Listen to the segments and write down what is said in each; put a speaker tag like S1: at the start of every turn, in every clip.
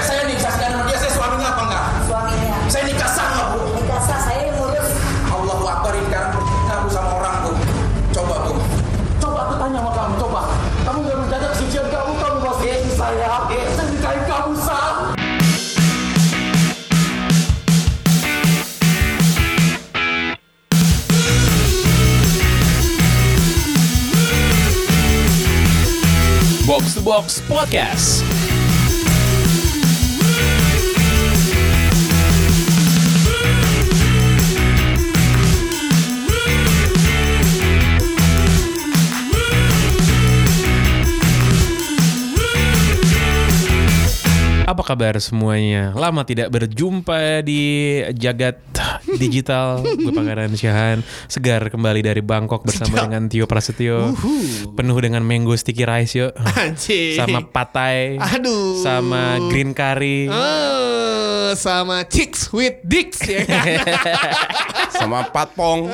S1: saya nikah sama dia, saya suaminya apa enggak?
S2: suaminya
S1: Saya nikah sama bu.
S2: nikah sah ya. saya yang ngurus
S1: Allah Akbar ini sekarang berzina bu sama orang bu. Coba bu. Coba aku tanya sama kamu, coba. Kamu udah menjaga kesucian kamu, kamu masih eh, saya. Eh, saya nikahin kamu, Sam.
S3: Box to Box Podcast. Apa kabar semuanya? Lama tidak berjumpa di jagat digital. Gue Pangeran Syahan, segar kembali dari Bangkok bersama
S4: Sedap.
S3: dengan Tio Prasetyo. Penuh dengan mango sticky rice yuk.
S4: Anjing.
S3: sama patai.
S4: Aduh.
S3: Sama green curry.
S4: Eh, sama chicks with dicks ya kan?
S5: sama Patpong.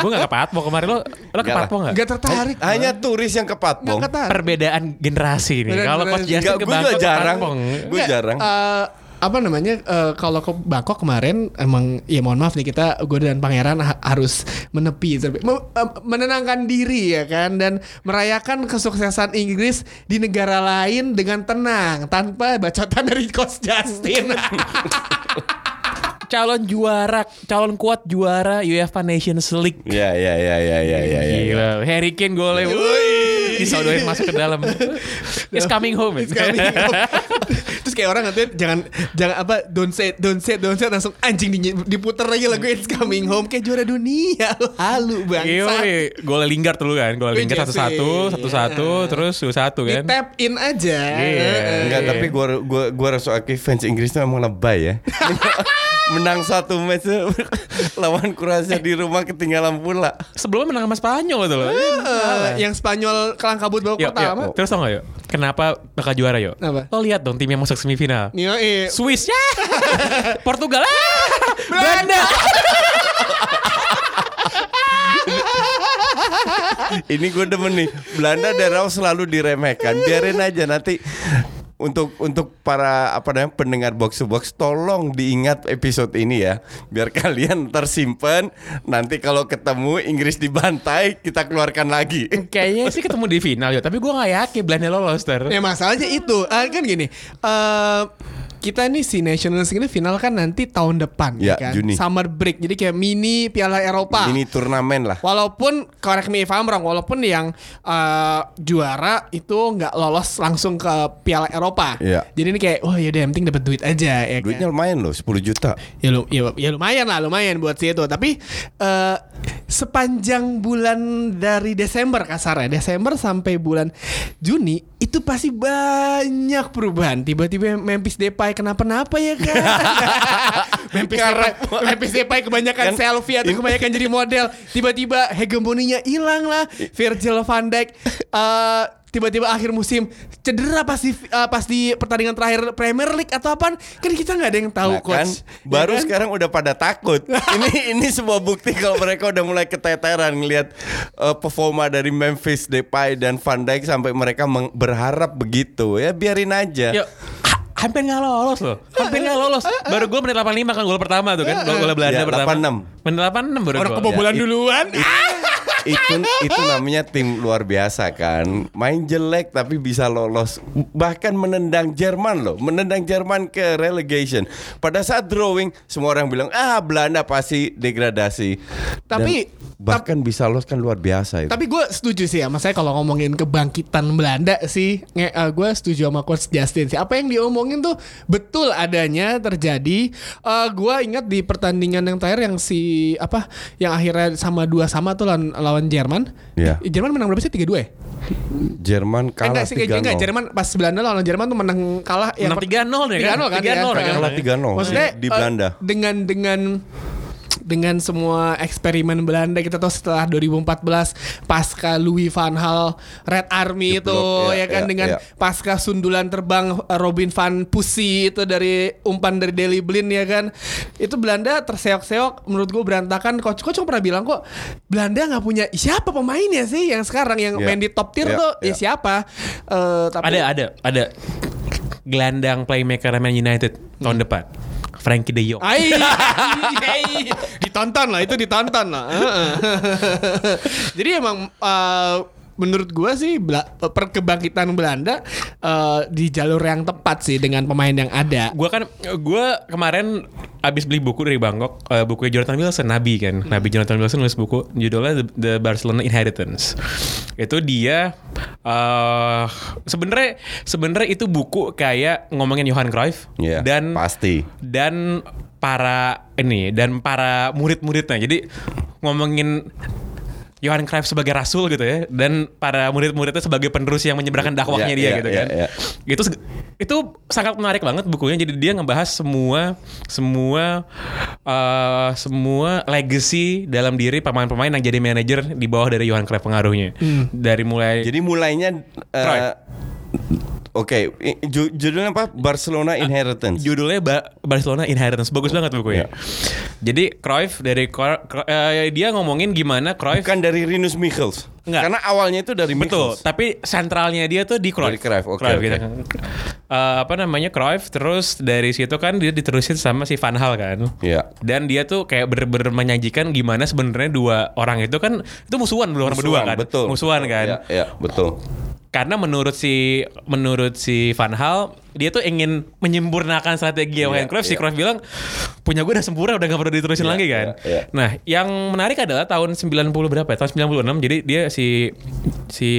S3: Gue gak ke Patmo kemarin lo. Lo ke
S5: Nggak
S3: Patmo gak?
S4: Gak tertarik.
S5: Hanya turis yang ke Patpong.
S4: Nggak ketarik.
S3: Perbedaan generasi nih.
S4: Perbedaan
S3: Kalau Coach
S4: generasi.
S3: Justin
S5: Enggak,
S3: ke
S5: gue juga
S3: Bangkok ke
S5: jarang.
S3: Patmo.
S5: Gue
S4: Nggak,
S5: jarang.
S4: eh, apa namanya eh, kalau ke Bangkok kemarin emang ya mohon maaf nih kita gue dan pangeran ha- harus menepi terlebih- me- eh, menenangkan diri ya kan dan merayakan kesuksesan Inggris di negara lain dengan tenang tanpa bacotan dari coach Justin
S3: Calon juara, calon kuat juara UEFA Nations League.
S5: Ya ya ya ya ya ya ya.
S3: Gila, Harry
S4: Iya.
S3: Kane golnya. Wih, disodoin masuk ke dalam. It's coming home.
S4: Terus kami- terus kayak orang nanti jangan jangan apa don't say don't say don't say langsung anjing di- diputer lagi lagu It's Coming Home kayak juara dunia halu bangsa
S3: Iya, gol Lingard dulu kan, gol
S4: Wih,
S3: Lingard
S4: Jesse. Iya.
S3: satu-satu, satu-satu, terus satu
S4: di
S3: kan.
S4: tap in aja
S3: Iya.
S5: Enggak,
S3: Iya.
S5: tapi gua gua gua rasa oke fans Inggris tuh emang lebay ya. Menang satu match tuh, lawan Kroasia di rumah ketinggalan pula.
S3: Sebelumnya menang sama Spanyol itu loh.
S4: Eh, yang Spanyol kelang kabut babak
S3: Yuk, yuk.
S4: pertama.
S3: Terus tau gak yuk? Kenapa bakal juara yuk?
S4: Apa?
S3: Lo lihat dong tim yang masuk semifinal.
S4: Yo, eh.
S3: Swiss ya, Portugal ya, Belanda.
S5: Ini gue demen nih. Belanda daerah selalu diremehkan. Biarin aja nanti untuk untuk para apa namanya pendengar box to box tolong diingat episode ini ya biar kalian tersimpan nanti kalau ketemu Inggris dibantai kita keluarkan lagi
S3: Kayaknya sih ketemu di final yuk, tapi gue gak yakin Belanda lolos ter.
S4: Ya masalahnya itu Ah, kan gini. eh kita nih si National League ini final kan nanti tahun depan
S5: Ya,
S4: kan.
S5: Juni.
S4: Summer break. Jadi kayak mini Piala Eropa.
S5: ini turnamen lah
S4: Walaupun correct me if I'm wrong, walaupun yang eh, juara itu nggak lolos langsung ke Piala Eropa.
S5: Iya.
S4: Jadi ini kayak, oh yaudah yang penting dapat duit aja ya.
S5: duitnya
S4: kan?
S5: lumayan loh 10 juta
S4: Ya, lu- ya- ya lumayan lah, lumayan buat si itu. Tapi eh, sepanjang bulan dari Desember kasarnya, Desember sampai bulan Juni itu pasti banyak perubahan. Tiba-tiba Memphis Depay kenapa-napa ya kan? Memphis Depay, Memphis Depay kebanyakan
S5: Kan-
S4: selfie atau kebanyakan jadi model. Tiba-tiba hegemoninya hilang lah. Virgil van Dijk eh, tiba-tiba akhir musim cedera pasti pasti pertandingan terakhir Premier League atau apa kan kita nggak ada yang tahu
S5: Nah, kan,
S4: coach Ya
S5: baru
S4: kan?
S5: sekarang udah pada takut. ini ini sebuah bukti kalau mereka udah mulai keteteran ngelihat eh, performa dari Memphis Depay dan Van Dijk sampai mereka meng- berharap begitu. Ya biarin aja.
S3: Yuk. Ha- Hampir gak lolos loh Hampir gak lolos Baru gue menit 85 kan Gol pertama tuh kan Gol gol Belanda
S5: Iya,
S3: pertama
S5: 86.
S3: Menit 86 baru
S4: orang
S3: gol.
S5: Ya,
S4: kebobolan duluan
S5: itu itu namanya tim luar biasa kan. Main jelek tapi bisa lolos. Bahkan menendang Jerman loh, menendang Jerman ke relegation. Pada saat drawing semua orang bilang, "Ah, Belanda pasti degradasi." Dan
S4: Tapi-
S5: bahkan bisa lolos kan luar biasa itu.
S4: Tapi gue setuju sih ya, saya kalau ngomongin kebangkitan Belanda sih, nge, eh, gue setuju sama coach Justin sih. Apa yang diomongin tuh betul adanya terjadi. Eh gue ingat di pertandingan yang terakhir yang si apa, yang akhirnya sama dua sama tuh lawan, lawan Jerman.
S5: Iya.
S4: Eh, Jerman menang berapa sih? 3-2 ya? Eh,
S5: Jerman kalah
S4: enggak sih, enggak, enggak.
S5: 3-0.
S4: Jerman pas Belanda lawan Jerman tuh menang kalah. yang
S3: Menang
S4: per-
S3: 3-0 ya kan?
S4: 3-0 kan?
S3: 3-0
S4: ya.
S3: kan?
S5: Kalah 3-0
S4: Maksudnya
S5: di
S4: eh,
S5: Belanda.
S4: dengan dengan dengan semua eksperimen Belanda kita tahu setelah 2014 pasca Louis van Gaal Red Army itu
S5: Jeblok,
S4: ya,
S5: ya,
S4: kan
S5: ya,
S4: dengan
S5: ya.
S4: pasca sundulan terbang eh, Robin van Persie itu dari umpan dari Deli Blind ya kan itu Belanda terseok-seok menurut gue berantakan coach coach pernah bilang kok Belanda nggak punya siapa pemainnya sih yang sekarang yang
S5: Ya,
S4: main di top tier
S5: ya,
S4: tuh ya
S5: ya.
S4: siapa Eh, tapi
S3: Iya. Ada ada ada gelandang playmaker Man United
S4: Hmm.
S3: tahun depan. Frankie De Jong.
S4: Ai, ai, ditonton lah itu ditonton lah. Heeh. Jadi emang eh, menurut gua sih Bela- perkebangkitan Belanda eh, di jalur yang tepat sih dengan pemain yang ada.
S3: Gua kan gua kemarin abis beli buku dari Bangkok, eh, bukunya Jonathan Wilson Nabi kan. Nabi Jonathan Wilson nulis buku judulnya The, The Barcelona Inheritance. Itu dia eh sebenarnya sebenarnya itu buku kayak ngomongin Johan Cruyff
S5: Iya,
S3: dan
S5: pasti.
S3: dan para ini dan para murid-muridnya. Jadi ngomongin Johan Cruyff sebagai rasul gitu ya dan para murid-muridnya sebagai penerus yang menyebarkan dakwahnya
S5: Iya,
S3: dia
S5: iya,
S3: gitu
S5: iya,
S3: kan.
S5: iya.
S3: Itu seg- itu sangat menarik banget bukunya. Jadi dia ngebahas semua semua eh, semua legacy dalam diri pemain-pemain yang jadi manajer di bawah dari Johan Cruyff pengaruhnya. Dari mulai
S5: Jadi mulainya eh,
S3: Troy.
S5: Oke, i- ju- judulnya apa? Barcelona
S3: Ah,
S5: Inheritance.
S3: Judulnya Ba- Barcelona Inheritance. Bagus banget bukunya.
S5: Iya.
S3: Jadi Cruyff dari Cro- Cro- eh, dia ngomongin gimana Cruyff
S5: Bukan dari Rinus Michels.
S3: Enggak.
S5: Karena awalnya itu dari
S3: Betul,
S5: Michels.
S3: tapi sentralnya dia tuh di Cruyff.
S5: Dari Cruyff, oke, oke.
S3: gitu kan. Eh, apa namanya Cruyff terus dari situ kan dia diterusin sama si Van Hal kan.
S5: Iya.
S3: Dan dia tuh kayak bener-bener menyajikan gimana sebenarnya dua orang itu kan itu musuhan belum orang berdua
S5: Musuhan,
S3: kan.
S5: Betul.
S3: Musuhan kan.
S5: Iya, iya, betul.
S3: Karena menurut si menurut si Van Hal dia tuh ingin menyempurnakan strategi Johan
S5: Iya,
S3: Cruyff. Si
S5: iya.
S3: Cruyff bilang punya gue udah sempurna udah gak perlu diterusin
S5: Iya,
S3: lagi kan.
S5: iya, iya.
S3: Nah, yang menarik adalah tahun 90 berapa ya? Tahun 96. Jadi dia si si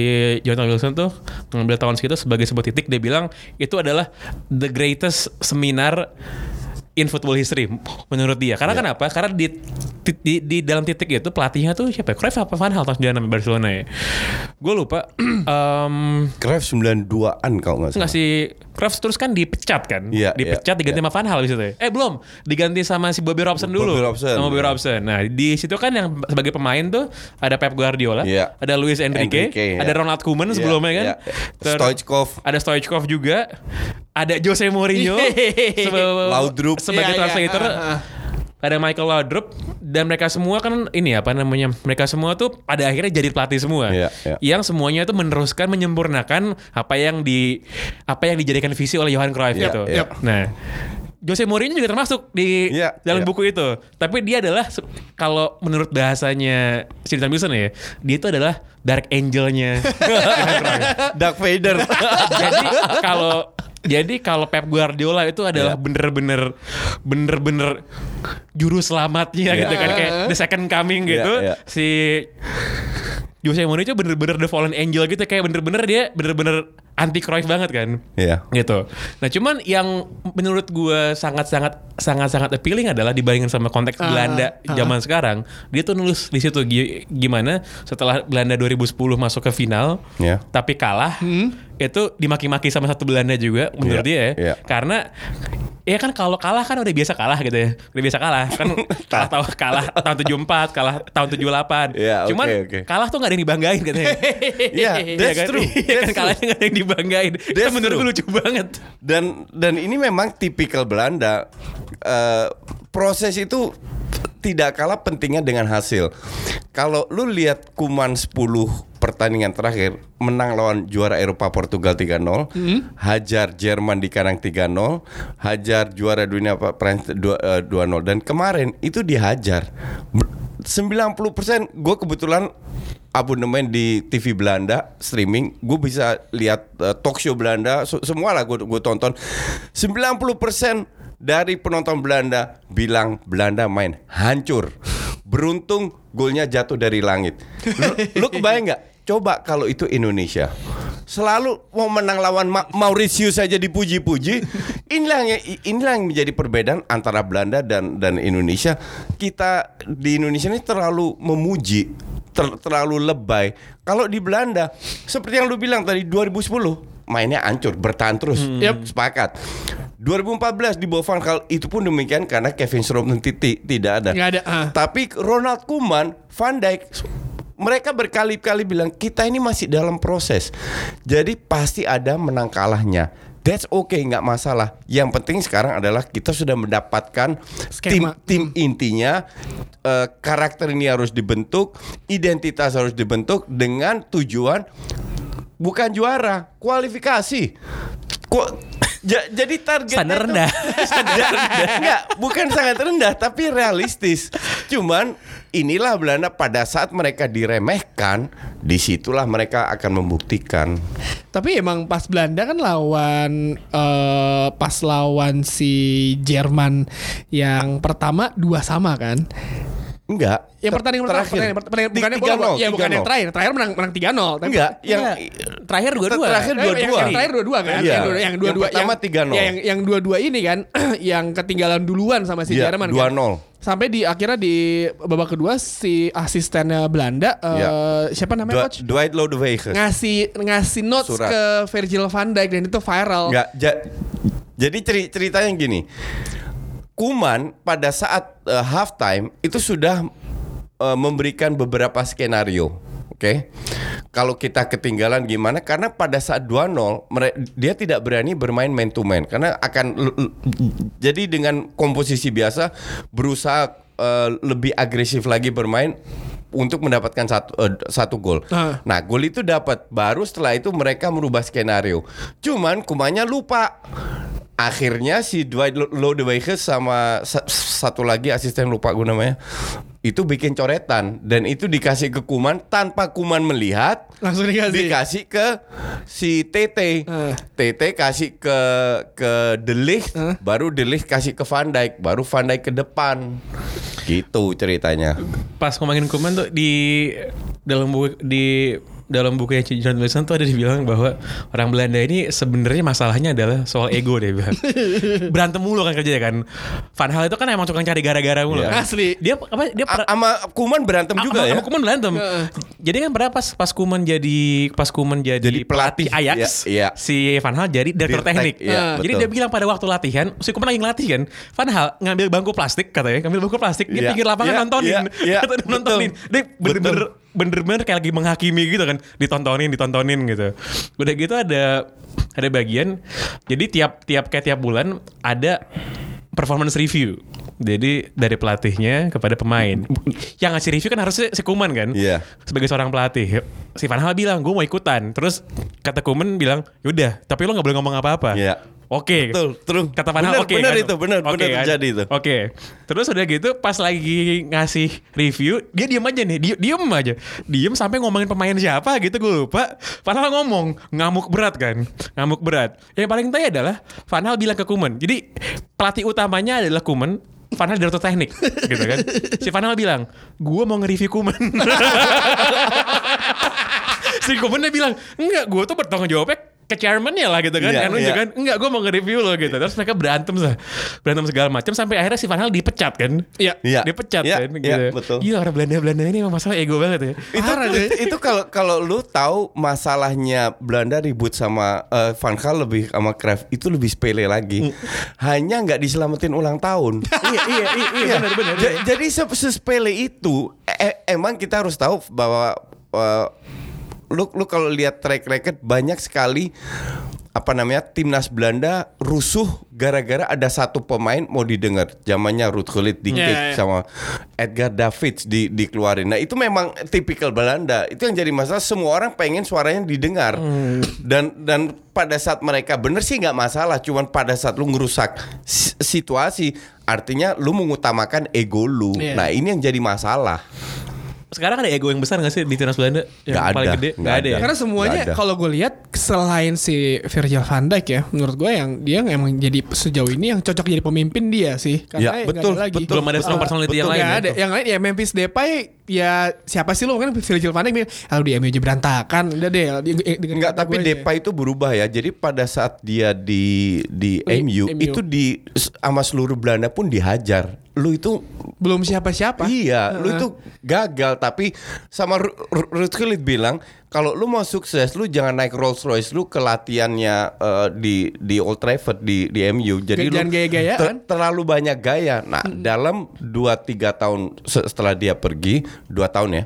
S3: Jonathan Wilson tuh mengambil tahun segitu sebagai sebuah titik dia bilang itu adalah the greatest seminar in football history menurut dia. Karena
S5: Iya.
S3: kenapa? Karena di, di, di- di dalam titik itu pelatihnya tuh siapa? ya? Cruyff apa Van Hal tahun 96 Barcelona ya. Gue lupa. Em,
S5: Cruyff 92-an kalau nggak salah.
S3: Enggak sih Cruyff terus kan dipecat kan
S5: Iya,
S3: Dipecat
S5: iya,
S3: diganti
S5: iya.
S3: sama Van Hal abis itu ya Eh belum Diganti sama si Bobby Robson dulu
S5: Bobby Robson,
S3: Sama Bobby
S5: iya.
S3: Robson Nah di situ kan yang sebagai pemain tuh Ada Pep Guardiola
S5: Iya.
S3: Ada Luis Enrique,
S5: Enrique, iya.
S3: Ada Ronald Koeman
S5: Iya,
S3: sebelumnya kan
S5: iya.
S3: Ter-
S5: Stoichkov.
S3: Ada Stoichkov juga Ada Jose Mourinho sebe-
S5: Laudrup.
S4: Iya,
S3: Sebagai
S4: iya,
S3: translator
S4: ah, ah.
S3: ada Michael Laudrup dan mereka semua kan ini apa namanya mereka semua tuh pada akhirnya jadi pelatih semua
S5: Iya, iya.
S3: yang semuanya itu meneruskan menyempurnakan apa yang di apa yang dijadikan visi oleh Johan Cruyff
S5: Iya,
S3: gitu.
S5: iya.
S3: Nah, Jose Mourinho juga termasuk di
S5: Iya,
S3: dalam
S5: iya.
S3: buku itu. Tapi dia adalah se- kalau menurut bahasanya Sir Wilson ya, dia itu adalah dark angelnya.
S5: Dark Vader.
S3: jadi kalau jadi kalau Pep Guardiola itu adalah
S5: Iya.
S3: bener-bener bener-bener juru selamatnya
S5: Iya.
S3: gitu kan kayak the second coming
S5: Iya,
S3: gitu.
S5: iya.
S3: Si Jose Mourinho bener-bener the fallen angel gitu kayak bener-bener dia bener-bener anti Cruyff banget kan.
S5: Iya.
S3: Gitu. Nah, cuman yang menurut gua sangat-sangat sangat-sangat appealing adalah dibandingkan sama konteks Belanda zaman sekarang, dia tuh nulis di situ gi- gimana setelah Belanda 2010 masuk ke final,
S5: Iya.
S3: tapi kalah,
S5: Hmm.
S3: itu dimaki-maki sama satu Belanda juga menurut dia ya.
S5: Iya, iya.
S3: Karena ya kan kalau kalah kan udah biasa kalah gitu ya. Udah biasa kalah kan kalah, tahun- kalah tahun 74, kalah tahun 78.
S5: Iya, oke,
S3: Cuman
S5: oke.
S3: kalah tuh nggak ada yang dibanggain katanya.
S5: Iya, that's
S3: kan?
S5: true.
S3: Iya kan
S5: That's
S3: kalahnya nggak ada yang dibanggain. Itu
S5: That's
S3: menurut
S5: true.
S3: gue lucu banget.
S5: Dan dan ini memang tipikal Belanda. Eh, proses itu tidak kalah pentingnya dengan hasil. Kalau lu lihat Kuman 10 pertandingan terakhir menang lawan juara Eropa Portugal 3-0, hajar Jerman di kandang 3-0, hajar juara dunia apa Prancis dua- eh, 2-0 dan kemarin itu dihajar. Ber- 90% gue kebetulan abonemen di TV Belanda streaming gue bisa lihat eh, talk show Belanda se- semua lah gue tonton 90% dari penonton Belanda bilang Belanda main hancur beruntung golnya jatuh dari langit lu, lu kebayang nggak coba kalau itu Indonesia selalu mau menang lawan Ma- Mauritius saja dipuji-puji inilah yang inilah yang menjadi perbedaan antara Belanda dan dan Indonesia kita di Indonesia ini terlalu memuji ter- terlalu lebay. Kalau di Belanda,
S4: Hmm.
S5: seperti yang lu bilang tadi 2010 mainnya hancur, bertahan terus. Sepakat. 2014 di Bovan kal itu pun demikian karena Kevin Strootman ti- ti- tidak ada.
S4: Nggak ada, ah.
S5: Tapi Ronald Koeman, Van Dijk mereka berkali-kali bilang kita ini masih dalam proses. Jadi pasti ada menang kalahnya. That's okay, nggak masalah. Yang penting sekarang adalah kita sudah mendapatkan
S4: Skema.
S5: tim tim intinya eh, karakter ini harus dibentuk, identitas harus dibentuk dengan tujuan bukan juara, kualifikasi. Kok ja- jadi target
S3: Standar rendah.
S5: Enggak, bukan sangat rendah tapi realistis. Cuman inilah Belanda pada saat mereka diremehkan, disitulah mereka akan membuktikan.
S4: Tapi emang pas Belanda kan lawan eh, pas lawan si Jerman yang pertama dua sama kan?
S5: Enggak.
S4: Yang
S5: ter-
S4: pertandingan pertama, pertandingan, pertandingan, bukannya
S5: Di- 3-0,
S4: ya bukan yang
S5: 3-0.
S4: terakhir, terakhir menang menang 3-0. Tapi-
S5: Enggak, yang
S3: terakhir dua-dua.
S5: Terakhir
S4: Eh, yang-
S5: Kan dua-dua.
S4: Yang, terakhir dua-dua kan?
S5: Iya.
S4: Yang dua- Yang dua-dua.
S5: Yang pertama 3-0.
S4: ya, yang, yang dua-dua ini kan yang ketinggalan duluan sama si
S5: Iya,
S4: Jerman kan?
S5: 2-0.
S4: Sampai di akhirnya di babak kedua si asistennya Belanda eh,
S5: Iya.
S4: siapa namanya
S5: Dua-
S4: coach?
S5: Dwight Lodewijk.
S4: ngasih ngasih notes
S5: Surat.
S4: ke Virgil van Dijk dan itu viral.
S5: Nggak, ja- jadi ceri ceritanya gini. Kuman pada saat eh, halftime itu sudah eh, memberikan beberapa skenario. Oke. Kalau kita ketinggalan gimana? Karena pada saat 2-0 mere- dia tidak berani bermain man to man karena akan l- l- jadi dengan komposisi biasa berusaha eh, lebih agresif lagi bermain untuk mendapatkan satu eh, satu gol.
S4: Ah.
S5: Nah, gol itu dapat. Baru setelah itu mereka merubah skenario. Cuman kumanya lupa. Akhirnya si Dwight Lo- Lodewijk sama sa- satu lagi asisten lupa gue namanya. Itu bikin coretan dan itu dikasih ke Kuman tanpa Kuman melihat
S4: Langsung dikasih.
S5: dikasih ke si TT.
S4: Iya Eh.
S5: TT kasih ke ke Delih,
S4: Eh.
S5: baru Delih kasih ke Van Dijk, baru Van Dijk ke depan. Gitu ceritanya.
S3: pas ngomongin kuman tuh di dalam buku di dalam bukunya John Wilson tuh ada dibilang bahwa orang Belanda ini sebenarnya masalahnya adalah soal ego dia bilang. Berantem mulu kan kerjanya kan. Van Hal itu kan emang tukang cari gara-gara mulu.
S5: Iya.
S3: kan.
S4: Asli.
S3: Dia apa dia
S5: A-
S3: pernah-
S5: Sama Kuman berantem juga
S3: sama-
S5: ya.
S3: sama Kuman berantem. Jadi kan pernah pas pas Kuman jadi pas Kuman jadi,
S5: Jadi pelatih,
S3: Ajax,
S5: iya, iya.
S3: si Van Hal jadi direktur
S5: Dirtek,
S3: teknik.
S5: iya,
S3: Jadi
S5: betul.
S3: dia bilang pada waktu latihan, si Kuman lagi ngelatih kan, Van Hal ngambil bangku plastik katanya, ngambil bangku plastik, dia
S5: Iya,
S3: pinggir lapangan
S5: iya,
S3: nontonin,
S5: iya, iya,
S3: Kata dia
S5: betul.
S3: nontonin. Dia bener-bener bener-bener kayak lagi menghakimi gitu kan, ditontonin, ditontonin gitu. Udah gitu ada ada bagian, jadi tiap tiap kayak tiap bulan ada performance review. Jadi dari pelatihnya kepada pemain. Yang ngasih review kan harusnya si Kuman kan?
S5: Iya.
S3: Sebagai seorang pelatih. Si Van Hal bilang, gue mau ikutan. Terus kata Kuman bilang, yaudah tapi lo gak boleh ngomong apa-apa.
S5: Iya.
S3: Oke.
S5: Betul, true.
S3: Kata Van Hal
S5: Bener,
S3: oke.
S5: bener
S3: kan?
S5: itu, bener,
S3: Oke
S5: bener terjadi itu.
S3: Oke. Terus udah gitu pas lagi ngasih review, dia diem aja nih, dia diem aja. Diem sampai ngomongin pemain siapa gitu gue lupa. Van Hal ngomong, ngamuk berat kan. Ngamuk berat. Yang paling tai adalah Van Hal bilang ke Kuman. Jadi pelatih utamanya adalah Kuman. Van Hal direktur teknik gitu kan. Si Van Hal bilang, "Gua mau nge-review Kuman." si komennya bilang enggak gue tuh bertanggung jawabnya ke chairmannya lah gitu kan
S5: Iya,
S3: Anu
S5: iya.
S3: juga kan enggak gue mau nge-review lo gitu terus mereka berantem lah berantem segala macam sampai akhirnya si Van Hal dipecat kan
S4: Iya.
S5: Iya.
S3: dipecat
S5: Iya,
S3: kan
S5: iya,
S3: gitu
S5: betul.
S3: gila orang Belanda Belanda ini emang masalah ego banget ya
S5: itu
S4: Parah,
S5: itu- itu kalau kalau lu tahu masalahnya Belanda ribut sama eh, Van Gaal lebih sama Cruyff itu lebih sepele lagi. Hanya nggak diselamatin ulang tahun. Mm. iya iya iya. Ja- Jadi se- sesepele itu e- e- emang kita harus tahu bahwa eh, lu lu kalau lihat track record banyak sekali apa namanya timnas Belanda rusuh gara-gara ada satu pemain mau didengar zamannya Ruud Gullit di kick
S4: Iya, iya.
S5: sama Edgar Davids di dikeluarin. Nah, itu memang tipikal Belanda. Itu yang jadi masalah semua orang pengen suaranya didengar. Dan dan pada saat mereka bener sih nggak masalah, cuman pada saat lu ngerusak si- situasi, artinya lu mengutamakan ego lu.
S4: Iya.
S5: Nah, ini yang jadi masalah.
S3: sekarang ada ego yang besar gak sih di timnas Belanda yang
S5: Nggak
S3: paling
S5: ada,
S3: gede
S5: nggak
S3: nggak ada,
S5: ada.
S3: ya
S4: Karena semuanya
S5: Eh, Nggak ada.
S4: kalau gue lihat selain si Virgil van Dijk ya, menurut gue yang dia yang emang jadi sejauh ini yang cocok jadi pemimpin dia sih. Karena
S5: Ya,
S4: nggak
S5: betul,
S4: ada lagi.
S5: betul.
S3: belum ada strong personality yang
S4: Nggak
S3: lain ya.
S4: ada. Yang lain ya Memphis Depay ya siapa sih lo kan Phil Panik bilang, "Ah, di MU aja berantakan." Udah deh, di- eh, dengerin
S5: Enggak,
S4: kata
S5: tapi
S4: gue aja."
S5: Depay itu berubah ya. Jadi pada saat dia di di
S4: Di
S5: MU,
S4: MU.
S5: itu di sama seluruh Belanda pun dihajar. Lu itu
S4: belum siapa-siapa.
S5: Iya, lu
S4: Heeh.
S5: itu gagal tapi sama Ru- Ru- Ruud Gullit bilang kalau lu mau sukses lu jangan naik Rolls Royce lu ke latihannya eh, di di Old Trafford di di MU. Jadi
S4: Jangan
S5: lu
S4: gaya-gayaan.
S5: terlalu banyak gaya. Nah, dalam 2 3 tahun se- setelah dia pergi, 2 tahun ya.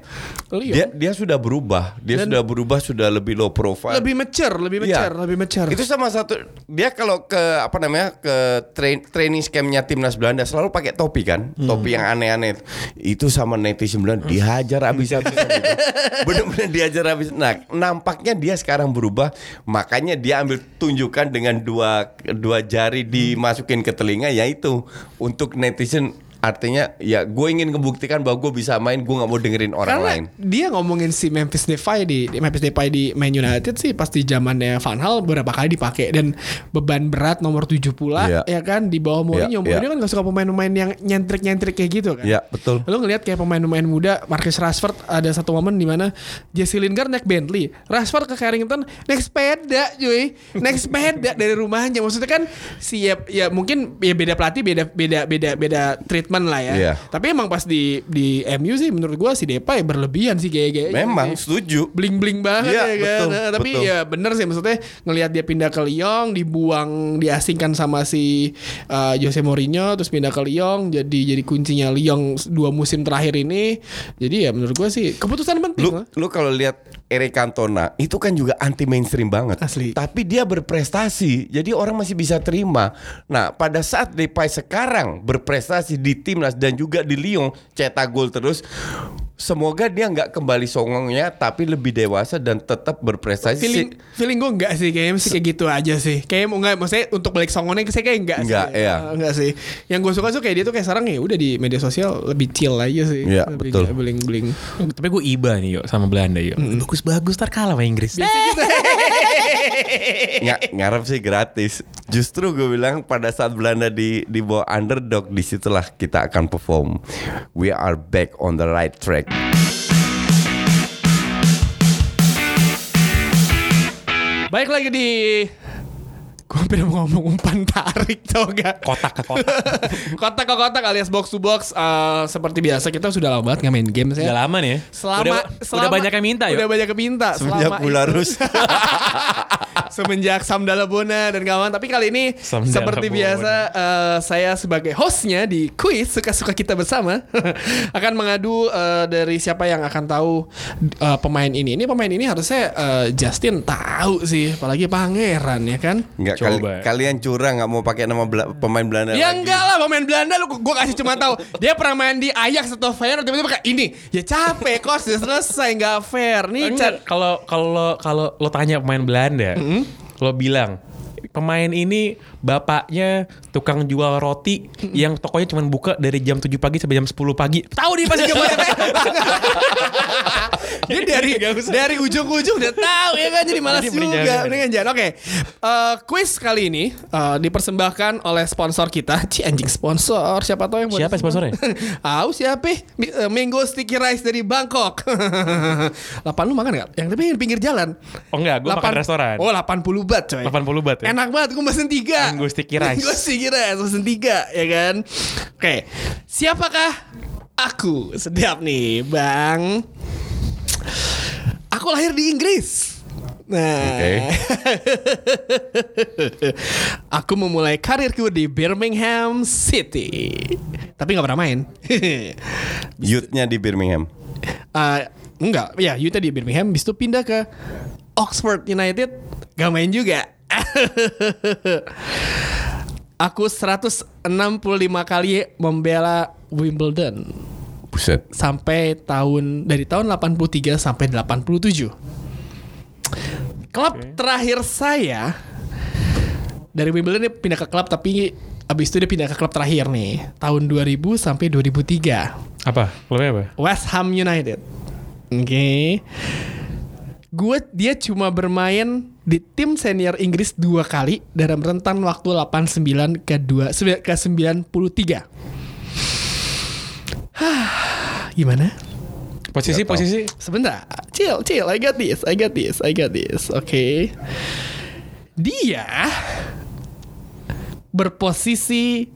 S4: Lyon.
S5: Dia dia sudah berubah. Dia
S4: Iya. Dan-
S5: sudah berubah, sudah lebih low profile.
S4: lebih mature, lebih
S5: Iya.
S4: mature, lebih mature.
S5: Itu sama satu dia kalau ke apa namanya ke train, training campnya timnas Belanda selalu pakai topi kan,
S4: Hmm.
S5: topi yang aneh-aneh itu. Itu sama netizen Belanda dihajar habis-habisan gitu. Bener-bener dihajar habis. Nah, nampaknya dia sekarang berubah, makanya dia ambil tunjukkan dengan dua dua
S4: Hmm.
S5: jari dimasukin ke telinga yaitu untuk netizen artinya ya gue ingin membuktikan bahwa gue bisa main gue nggak mau dengerin orang
S4: Karena
S5: lain
S4: dia ngomongin si Memphis Depay di, di Memphis Depay di Man United sih pas di zamannya Van Hal beberapa kali dipakai dan beban berat nomor 7 pula
S5: Iya.
S4: ya kan di bawah Mourinho.
S5: Iya,
S4: Mourinho
S5: iya.
S4: kan gak suka pemain-pemain yang nyentrik-nyentrik kayak gitu kan.
S5: Iya, betul.
S4: Lu ngelihat kayak pemain-pemain muda Marcus Rashford ada satu momen di mana Jesse Lingard naik Bentley, Rashford ke Carrington naik sepeda cuy, naik sepeda dari rumahnya. Maksudnya kan si ya, ya mungkin ya beda pelatih beda beda beda beda treatment lah ya.
S5: Iya.
S4: Tapi emang pas di di MU sih menurut gua si Depay berlebihan sih gaya-gaya.
S5: memang setuju
S4: bling bling banget ya
S5: Iya,
S4: kan.
S5: betul,
S4: Nah, tapi
S5: betul.
S4: ya bener sih maksudnya ngelihat dia pindah ke Lyon, dibuang, diasingkan sama si uh, Jose Mourinho terus pindah ke Lyon jadi jadi kuncinya Lyon dua musim terakhir ini. Jadi ya menurut gua sih keputusan penting
S5: lu
S4: lah.
S5: lu kalau lihat Eric Cantona itu kan juga anti mainstream banget.
S4: Asli.
S5: Tapi dia berprestasi, jadi orang masih bisa terima. Nah, pada saat Depay sekarang berprestasi di timnas dan juga di Lyon cetak gol terus, semoga dia nggak kembali songongnya, tapi lebih dewasa dan tetap berprestasi.
S4: Feeling feeling gua enggak sih kayaknya sih kayak gitu aja sih. Kayaknya mau enggak maksudnya untuk balik songongnya saya kayak enggak,
S5: Enggak,
S4: sih.
S5: iya.
S4: Uh, Enggak sih. Yang gue suka tuh kayak dia tuh kayak sekarang ya udah di media sosial lebih chill aja sih.
S5: Iya,
S4: Lebih
S5: betul.
S4: nggak bling-bling.
S3: Tapi gue iba nih yuk sama Belanda yuk. Bagus-bagus ntar kalah sama Inggris.
S5: Nga- ngarep sih gratis. Justru gue bilang pada saat Belanda di di bawah underdog disitulah kita akan perform. We are back on the right track.
S4: Baik lagi di Gue hampir mau ngomong umpan tarik tau gak
S3: Kotak ke kotak.
S4: Kotak ke kotak alias box to box Eh, Seperti biasa kita sudah lama banget nggak main game ya
S3: Udah lama nih ya.
S4: Selama,
S3: udah,
S4: selama-
S3: udah banyak yang minta yuk.
S4: Udah banyak yang minta
S5: Semenjak
S4: selama
S5: bulan
S4: itu-
S5: Rus.
S4: Semenjak Samdala Bona dan kawan Tapi kali ini
S3: Samdala
S4: Seperti
S3: Bona.
S4: biasa eh, Saya sebagai hostnya di kuis Suka-suka kita bersama Akan mengadu eh, dari siapa yang akan tahu eh, Pemain ini Ini pemain ini harusnya eh, Justin tahu sih Apalagi pangeran ya kan
S5: Enggak
S3: Coba.
S5: kali- kalian curang nggak mau pakai nama Bela- pemain Belanda
S4: Ya
S5: lagi.
S4: enggak lah pemain Belanda lu gua kasih cuma tahu dia pernah main di Ajax atau Feyenoord tiba-tiba kayak ini. Ya capek kos udah selesai nggak fair. Nih Chan.
S3: Enggak, kalau kalau kalau lo tanya pemain Belanda,
S4: Mm-hmm.
S3: lo bilang pemain ini bapaknya tukang jual roti yang tokonya cuma buka dari jam 7 pagi sampai jam 10 pagi.
S4: Tahu dia pasti kemarin. dia dari dari ujung ke ujung udah tahu ya kan jadi malas
S3: Jadi
S4: juga.
S3: mending jangan, jangan.
S4: Mendingan jangan. Oke. Eh, quiz kali ini eh, dipersembahkan oleh sponsor kita. Ci anjing sponsor. Siapa tahu yang mau
S3: Siapa sponsornya?
S4: Au siapa? eh? Mi- eh, Mango sticky rice dari Bangkok. Lapan lu makan nggak? Yang tapi yang pinggir jalan.
S3: Oh enggak, gue makan
S4: Lapan-
S3: restoran.
S4: Oh 80 bat coy
S3: 80 bat ya?
S4: Enak banget gue pesen 3
S3: Mango sticky rice.
S4: Gue sticky rice pesen 3 ya kan Oke Siapakah aku Sedap nih Bang Aku lahir di Inggris Nah
S5: Oke.
S4: Aku memulai karirku di Birmingham City Tapi gak pernah main
S5: Youthnya di Birmingham.
S4: Eh, enggak, ya Utah di Birmingham, bis itu pindah ke Oxford United, gak main juga. Aku 165 kali membela Wimbledon
S5: Buset.
S4: sampai tahun dari tahun 83 sampai 87. Klub terakhir saya dari Wimbledon dia pindah ke klub tapi abis itu dia pindah ke klub terakhir nih tahun 2000 sampai 2003.
S3: Apa? Klubnya apa?
S4: West Ham United. Oke. Gue dia cuma bermain di tim senior Inggris dua kali dalam rentan waktu 89 ke 2 sembi- ke 93. Hah, gimana?
S3: Posisi
S5: Nggak tahu.
S3: posisi
S4: Sebentar, chill, chill. I got this, I got this, I got this. Oke. Dia berposisi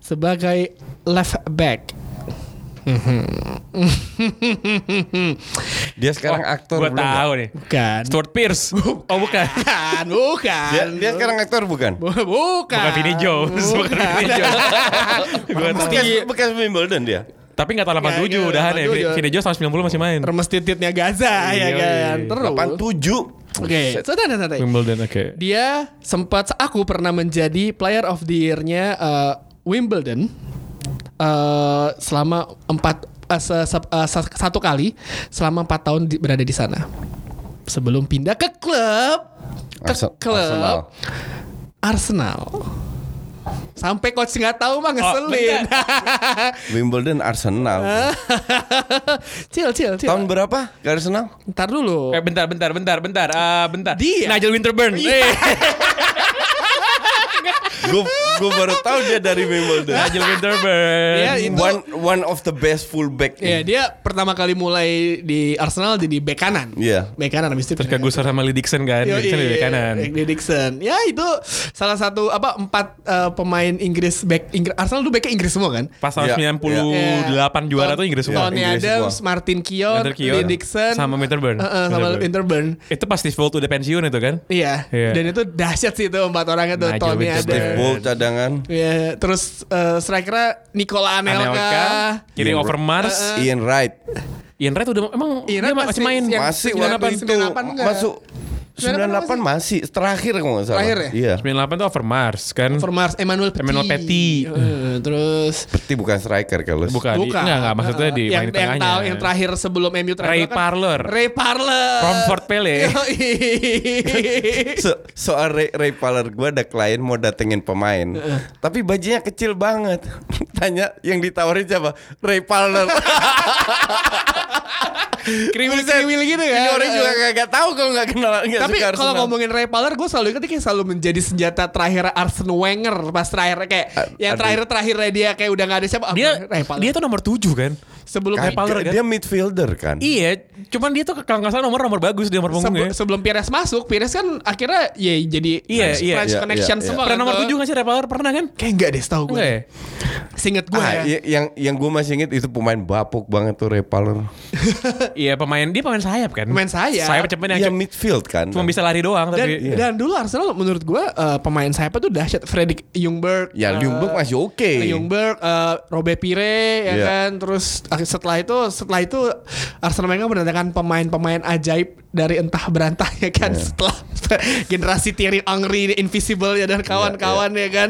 S4: sebagai left back.
S5: Dia
S4: Oh,
S5: sekarang
S3: Wah,
S5: aktor
S3: Gua
S5: belum ya? nggak?
S3: tahu nih.
S4: Bukan.
S3: Stuart Pierce. Oh bukan.
S4: Bukan, bukan.
S5: Dia, dia sekarang aktor bukan?
S4: Bu- bukan.
S3: Bukan Vinny Jones, bukan Vinny Jones. Gua tahu.
S5: Bekas, bekas Wimbledon dia.
S3: Tapi nggak tahun 87
S4: Nggak,
S3: udahan ya.
S4: 87.
S3: Vinny Jones tahun 90 masih main.
S4: Remes titiknya Gaza ya
S3: Iya,
S4: kan.
S3: iya.
S4: Terus.
S5: 87.
S4: Oke, santai santai.
S3: Wimbledon oke.
S4: Dia sempat aku pernah menjadi player of the year-nya eh, Wimbledon eh, selama empat eh, se- se- eh, sa- satu kali selama empat tahun di- berada di sana. Sebelum pindah ke klub ke
S5: Arse-
S4: klub
S5: Arsenal.
S4: Arsenal. Sampai coach nggak tahu
S3: Oh,
S4: mah ngeselin.
S5: Wimbledon Arsenal.
S4: chill, chill, chill.
S5: Tahun berapa? Ke Arsenal?
S4: Ntar dulu. Iya.
S3: Eh bentar bentar bentar bentar Ah, bentar.
S4: Dia.
S3: Nigel Winterburn. Eh,
S5: Gue gue baru tahu dia dari Wimbledon.
S3: Nigel Winterburn.
S4: Dia itu
S5: one one of the best fullback.
S4: ya dia pertama kali mulai di Arsenal jadi bek kanan.
S5: Iya.
S4: Bek kanan habis itu
S3: Terus kagusar sama Lee Dixon kan.
S4: Yo,
S3: Lee Dixon
S4: iya,
S3: di kanan.
S4: Andy Dixon. Ya itu salah satu apa empat eh, pemain Inggris back Inggris Arsenal dulu backnya Inggris semua kan?
S3: Pas tahun
S5: Iya,
S3: 98
S4: Ya.
S3: juara
S4: Ton-
S3: tuh Inggris semua.
S4: Tony
S5: Inggris
S4: Adams,
S5: semua.
S4: Martin Keown,
S3: Martin Keown,
S4: Lee Dixon,
S3: sama Winterburn.
S4: Eh, eh, sama
S3: Winterburn.
S4: Winterburn.
S3: Itu pas Steve Bolt udah pensiun itu kan?
S4: Iya.
S3: Iya.
S4: Dan itu dahsyat sih itu empat orang itu
S3: Nigel
S4: Tony
S3: Winterburn.
S5: Steve
S4: Adams.
S5: Ball cadangan.
S4: Iya, terus eh, strikernya Nicola Anelka.
S3: Anelka, kiri
S5: Ian
S3: over
S5: Wright.
S3: Mars.
S5: Ian Wright
S3: Ian Wright udah emang
S4: Ian
S3: dia
S4: Wright
S3: masih
S4: masih- ya.
S3: main.
S4: yang
S5: masih
S4: 98
S5: waktu itu
S4: 98 enggak?
S5: masuk
S4: 98
S5: 98 masih terakhir kalau nggak salah.
S4: Terakhir ya?
S5: Iya.
S3: 98 tuh over Mars kan?
S4: For Mars, Emmanuel Petit.
S3: Emmanuel Petit.
S4: Eh, terus
S5: Berarti bukan striker kan, kalau
S3: Bukan. Bukan. Enggak, enggak maksudnya di
S4: yang,
S3: main di
S4: yang,
S3: tengahnya.
S4: tahu yang terakhir sebelum MU terakhir
S3: Ray
S4: kan
S3: Parler.
S4: Ray Parler.
S3: From Fort Pele.
S4: Yoi.
S5: So- soal Ray, Ray Parler gue ada klien mau datengin pemain Tapi bajunya kecil banget Tanya yang ditawarin siapa? Ray Parler
S4: Kriwil-kriwil gitu kan.
S3: Iya,
S5: Ini Iya, orang juga
S3: ya,
S5: gak, tahu kalau gak kenal nggak
S4: Tapi
S5: suka
S4: kalau
S5: Arsenal.
S4: ngomongin Ray Parler gue selalu ingat dia kayak selalu menjadi senjata terakhir Arsene Wenger pas terakhir kayak yang
S5: aduh.
S4: terakhir-terakhir dia kayak udah gak ada siapa. Ah,
S3: Dia
S4: Ray Parler.
S3: dia tuh nomor 7 kan?
S4: sebelum
S5: Kagak,
S3: Parler kan?
S5: Dia midfielder kan?
S3: Iya, cuman dia tuh kalau nggak salah nomor nomor bagus di nomor
S4: Sebe-
S3: punggungnya.
S4: sebelum Pires masuk, Pires kan akhirnya ya jadi
S3: ya. Iya,
S4: French,
S3: iya,
S4: French
S5: iya,
S4: connection
S5: iya,
S4: semua.
S3: Pernah
S4: kan
S3: nomor
S4: tuh.
S3: 7 nggak sih Ray Parler? Pernah kan?
S4: Kayak enggak deh setahu gue.
S3: Enggak ya?
S4: Seinget gue
S5: Ah,
S4: ya.
S5: i- yang yang gue masih inget itu pemain bapuk banget tuh Ray Parler
S3: Iya, pemain dia pemain sayap kan?
S4: Pemain sayap.
S3: Sayap cepen yang
S5: Dia midfield kan?
S3: cuma bisa lari doang
S4: Dan,
S3: tapi
S5: iya.
S4: dan dulu Arsenal menurut gue eh, pemain sayapnya tuh dahsyat. Fredrik Ljungberg.
S5: Ya
S4: eh,
S5: Ljungberg masih oke
S4: Ljungberg, eh, Robert Pire, ya
S5: Iya.
S4: kan. Terus ak- setelah itu, setelah itu Arsenal Wenger mendatangkan pemain-pemain ajaib dari entah berantah ya kan.
S5: Iya.
S4: Setelah generasi Thierry Henry, Invisible ya dan
S5: Iya,
S4: kawan-kawan ya kan.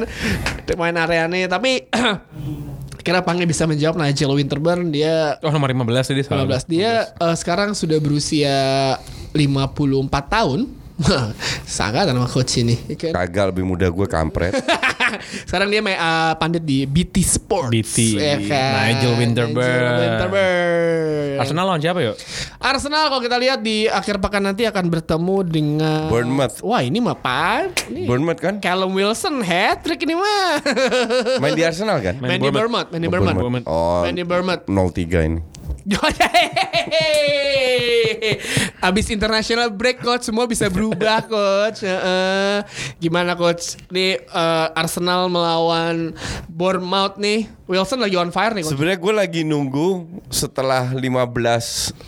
S4: Pemain areane. Tapi kira panggil bisa menjawab Nigel Winterburn dia
S3: Oh nomor 15 jadi salah.
S4: 15 dia eh, sekarang sudah berusia 54 tahun sangat sama coach ini ya kan?
S5: Kagak lebih muda gue kampret
S4: sekarang dia main, eh, pandit di BT Sport
S3: BT,
S4: Ya kan?
S3: Nigel Winterburn.
S4: Winterburn. Arsenal
S3: Arsenal lawan siapa yuk?
S4: kalau kita lihat di akhir pekan nanti akan bertemu dengan
S5: Bournemouth.
S4: wah ini mah pan ini
S5: Bournemouth kan?
S4: Callum Wilson hat trick ini mah
S5: Main di Arsenal kan?
S4: Iya. main di Bournemouth main di Bournemouth
S3: Bournemouth.
S5: Oh,
S4: main di Bournemouth
S5: 03 ini
S4: Hehehe. Abis international break coach semua bisa berubah coach. Heeh. gimana coach? Nih eh, Arsenal melawan Bournemouth nih. Wilson lagi on fire nih coach.
S5: Sebenarnya gue lagi nunggu setelah 15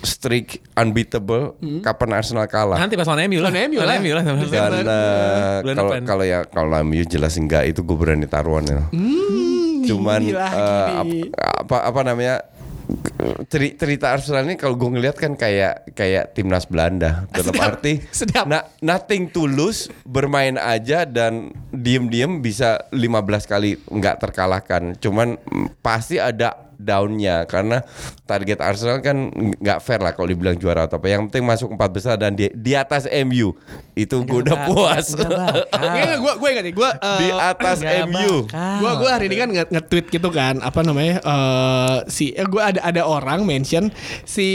S5: streak unbeatable kapan Arsenal kalah.
S3: Nanti pas lawan MU lah.
S4: Lawan MU lah.
S3: MU lah.
S5: Dan
S4: Desember.
S5: eh,
S3: Bulan
S5: kalau
S3: depan.
S5: kalau ya kalau MU jelas enggak itu gue berani taruhan ya.
S4: Hmm,
S5: Cuman
S4: ini
S5: eh,
S4: lagi nih.
S5: ap- apa apa namanya ceri- cerita Arsenal ini kalau gue ngeliat kan kayak kayak timnas Belanda dalam
S4: Sedap,
S5: arti
S4: sedap.
S5: na- nothing tulus bermain aja dan diem-diem bisa 15 kali nggak terkalahkan cuman mm, pasti ada daunnya karena target Arsenal kan nggak fair lah kalau dibilang juara atau apa yang penting masuk empat besar dan di, di atas MU itu gue udah puas
S4: Enggak, gue gue Iya, ingat nih. Gue eh,
S5: di atas MU
S4: Gua gua hari ini kan nge- nge-tweet gitu kan, apa namanya? eh si eh, gua ada ada orang mention si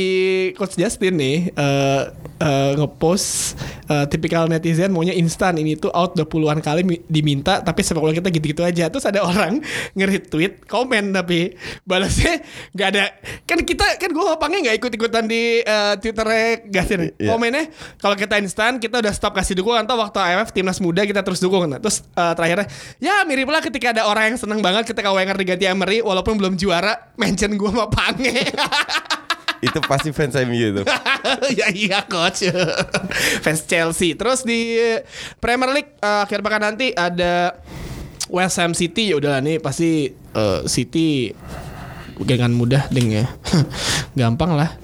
S4: coach Justin nih eh eh, ngepost eh, tipikal netizen maunya instan ini tuh out 20-an kali mi- diminta tapi sepak bola kita gitu-gitu aja. Terus ada orang nge-retweet komen tapi balas maksudnya nggak ada kan kita kan gue ngopangnya nggak ikut ikutan di eh, twitternya Gasir nih
S5: Iya.
S4: komennya kalau kita instan kita udah stop kasih dukungan atau waktu AFF timnas muda kita terus dukung Nah, terus eh, terakhirnya ya mirip lah ketika ada orang yang seneng banget ketika Wenger diganti Emery walaupun belum juara mention gue sama Pange
S5: itu pasti fans MU itu.
S4: ya iya coach fans Chelsea terus di Premier League eh, akhir pekan nanti ada West Ham City ya udahlah nih pasti eh, City gengan mudah ding ya gampang lah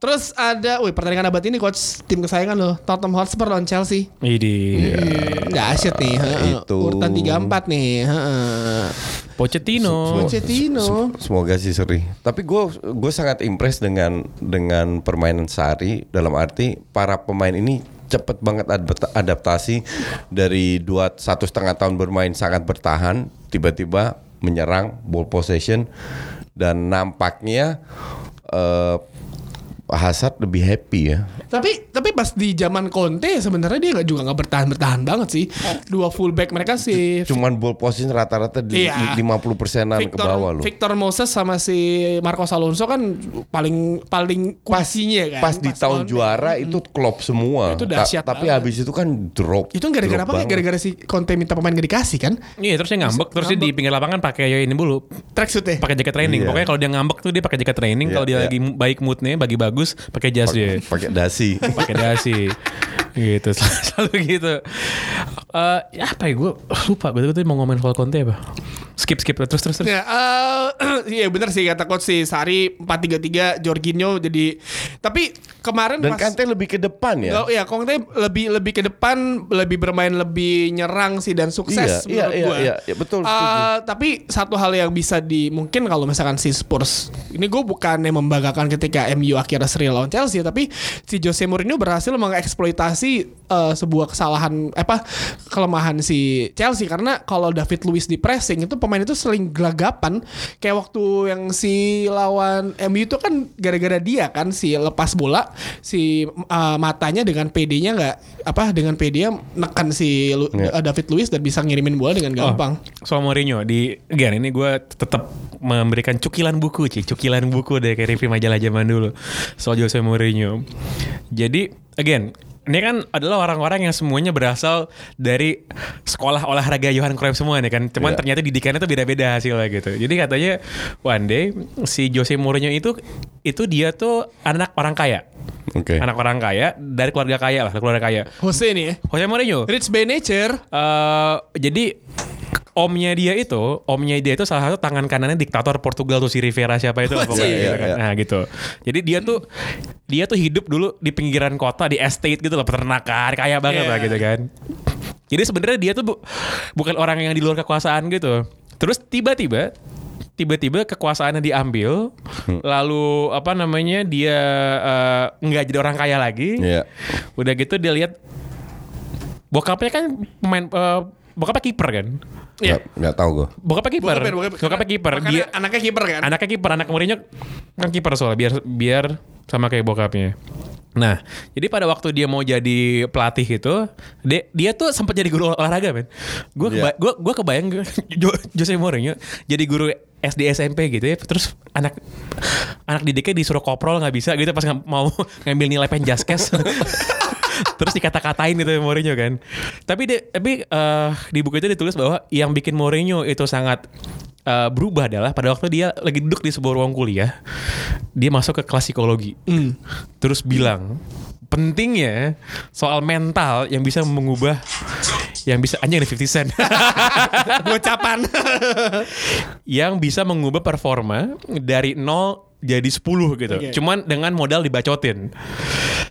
S4: terus ada wih pertandingan abad ini coach tim kesayangan loh Tottenham Hotspur lawan Chelsea
S3: Idi.
S5: Iya.
S4: nggak asyik nih heeh.
S5: Itu.
S4: urutan 34 nih heeh.
S5: Oh,
S3: Pochettino.
S4: Pochettino.
S5: Sem- Semoga sih seri. Tapi gue gue sangat impress dengan dengan permainan Sari dalam arti para pemain ini cepet banget adapta- adaptasi dari dua satu setengah tahun bermain sangat bertahan tiba-tiba menyerang ball possession dan nampaknya eh Hazard lebih happy ya
S4: Tapi tapi pas di zaman Conte sebenarnya dia nggak juga nggak bertahan bertahan banget sih. Dua fullback mereka sih
S5: cuman ball possession rata-rata di
S4: Iya.
S5: 50 persenan ke
S4: Victor,
S5: bawah loh
S4: Victor Moses sama si Marcos Alonso kan paling paling kuasinya kan.
S5: pas di
S4: lawan-
S5: tahun juara itu klop semua
S4: Itu dahsyat
S5: Ta- tapi
S4: banget.
S5: habis itu kan drop
S4: Itu gara-gara apa?
S5: drop
S4: ya?
S5: banget.
S4: Gara-gara si Conte minta pemain gak dikasih kan?
S3: Iya terus dia ngambek terus dia di pinggir lapangan pakai ini dulu
S4: Tracksuitnya.
S3: pakai jaket training.
S5: Iya.
S3: Pokoknya kalau dia ngambek tuh dia pakai jaket training.
S5: Iya,
S3: kalau dia
S5: iya.
S3: lagi baik moodnya, bagi bagus, pakai jas dia.
S5: Pak- pakai dasi
S3: pakai dasi gitu selalu, selalu gitu Eh, ya apa ya gue lupa gue tadi mau ngomongin soal Conte apa skip skip terus terus terus
S4: Ya, eh, iya bener sih kata coach si Sari 4-3-3 Jorginho jadi tapi kemarin
S5: dan kan
S4: pas-
S5: Kante lebih ke depan ya
S4: Kalau ya Conte lebih lebih ke depan, lebih bermain lebih nyerang sih dan sukses
S5: Iya, iya,
S4: menurut
S5: iya,
S4: gua.
S5: iya, iya, betul,
S4: Eh,
S5: setuju.
S4: tapi satu hal yang bisa di mungkin kalau misalkan si Spurs ini gue bukannya membanggakan ketika MU akhirnya seri lawan Chelsea tapi si Jose Mourinho berhasil mengeksploitasi eh, sebuah kesalahan eh, apa kelemahan si Chelsea karena kalau David Luiz di pressing itu pemain itu sering gelagapan kayak waktu yang si lawan MU itu kan gara-gara dia kan si lepas bola si eh, matanya dengan PD-nya nggak apa dengan PD-nya nekan si Lu-
S5: Iya.
S4: eh, David Luiz dan bisa ngirimin bola dengan gampang.
S3: Oh, soal Mourinho di again ini gue tetap memberikan cukilan buku Ci. cukilan buku deh kayak review majalah zaman dulu soal Jose Mourinho. Jadi again ini kan adalah orang-orang yang semuanya berasal dari sekolah olahraga Johan Cruyff semua nih kan. Cuman
S5: Iya.
S3: ternyata didikannya tuh beda-beda hasilnya gitu. Jadi katanya one day si Jose Mourinho itu itu dia tuh anak orang kaya.
S5: oke
S3: Anak orang kaya dari keluarga kaya lah, keluarga kaya.
S4: Jose ini ya.
S3: Jose Mourinho.
S4: Rich by nature.
S3: Eh, jadi omnya dia itu, omnya dia itu salah satu tangan kanannya diktator Portugal tuh si Rivera siapa itu lah pokoknya
S5: Iya,
S3: gitu kan.
S5: iya.
S3: Nah, gitu. Jadi dia tuh dia tuh hidup dulu di pinggiran kota di estate gitu lah peternakan kaya banget
S4: Iya.
S3: lah gitu kan. Jadi sebenarnya dia tuh bu- bukan orang yang di luar kekuasaan gitu. Terus tiba-tiba tiba-tiba kekuasaannya diambil, lalu apa namanya dia eh, nggak jadi orang kaya lagi.
S5: Iya.
S3: Udah gitu dia lihat bokapnya kan pemain eh, bokapnya kiper kan.
S5: nggak nggak tahu gue
S3: Bokapnya kiper.
S4: Bokapnya- bokapnya-
S3: Bokapnya kiper.
S4: Makanya
S3: Dia
S4: anaknya kiper kan.
S3: anaknya kiper, anak Mourinho kan kiper soalnya biar biar sama kayak bokapnya. Nah, jadi pada waktu dia mau jadi pelatih itu, dia, dia tuh sempat jadi guru olah- olahraga, men. Gue
S5: Iya.
S3: gua gua kebayang Jo- Jose Mourinho jadi guru SD SMP gitu ya, terus anak anak didiknya disuruh koprol nggak bisa gitu pas nggak mau ngambil nilai penjaskes. terus dikata-katain gitu Mourinho kan. Tapi dia, tapi eh, di buku itu ditulis bahwa yang bikin Mourinho itu sangat eh, berubah adalah pada waktu dia lagi duduk di sebuah ruang kuliah, dia masuk ke kelas psikologi. Terus bilang pentingnya soal mental yang bisa mengubah yang bisa anjing ada 50 cent
S4: Gocapan.
S3: yang bisa mengubah performa dari 0 jadi 10 gitu.
S4: Oke.
S3: Cuman dengan modal dibacotin.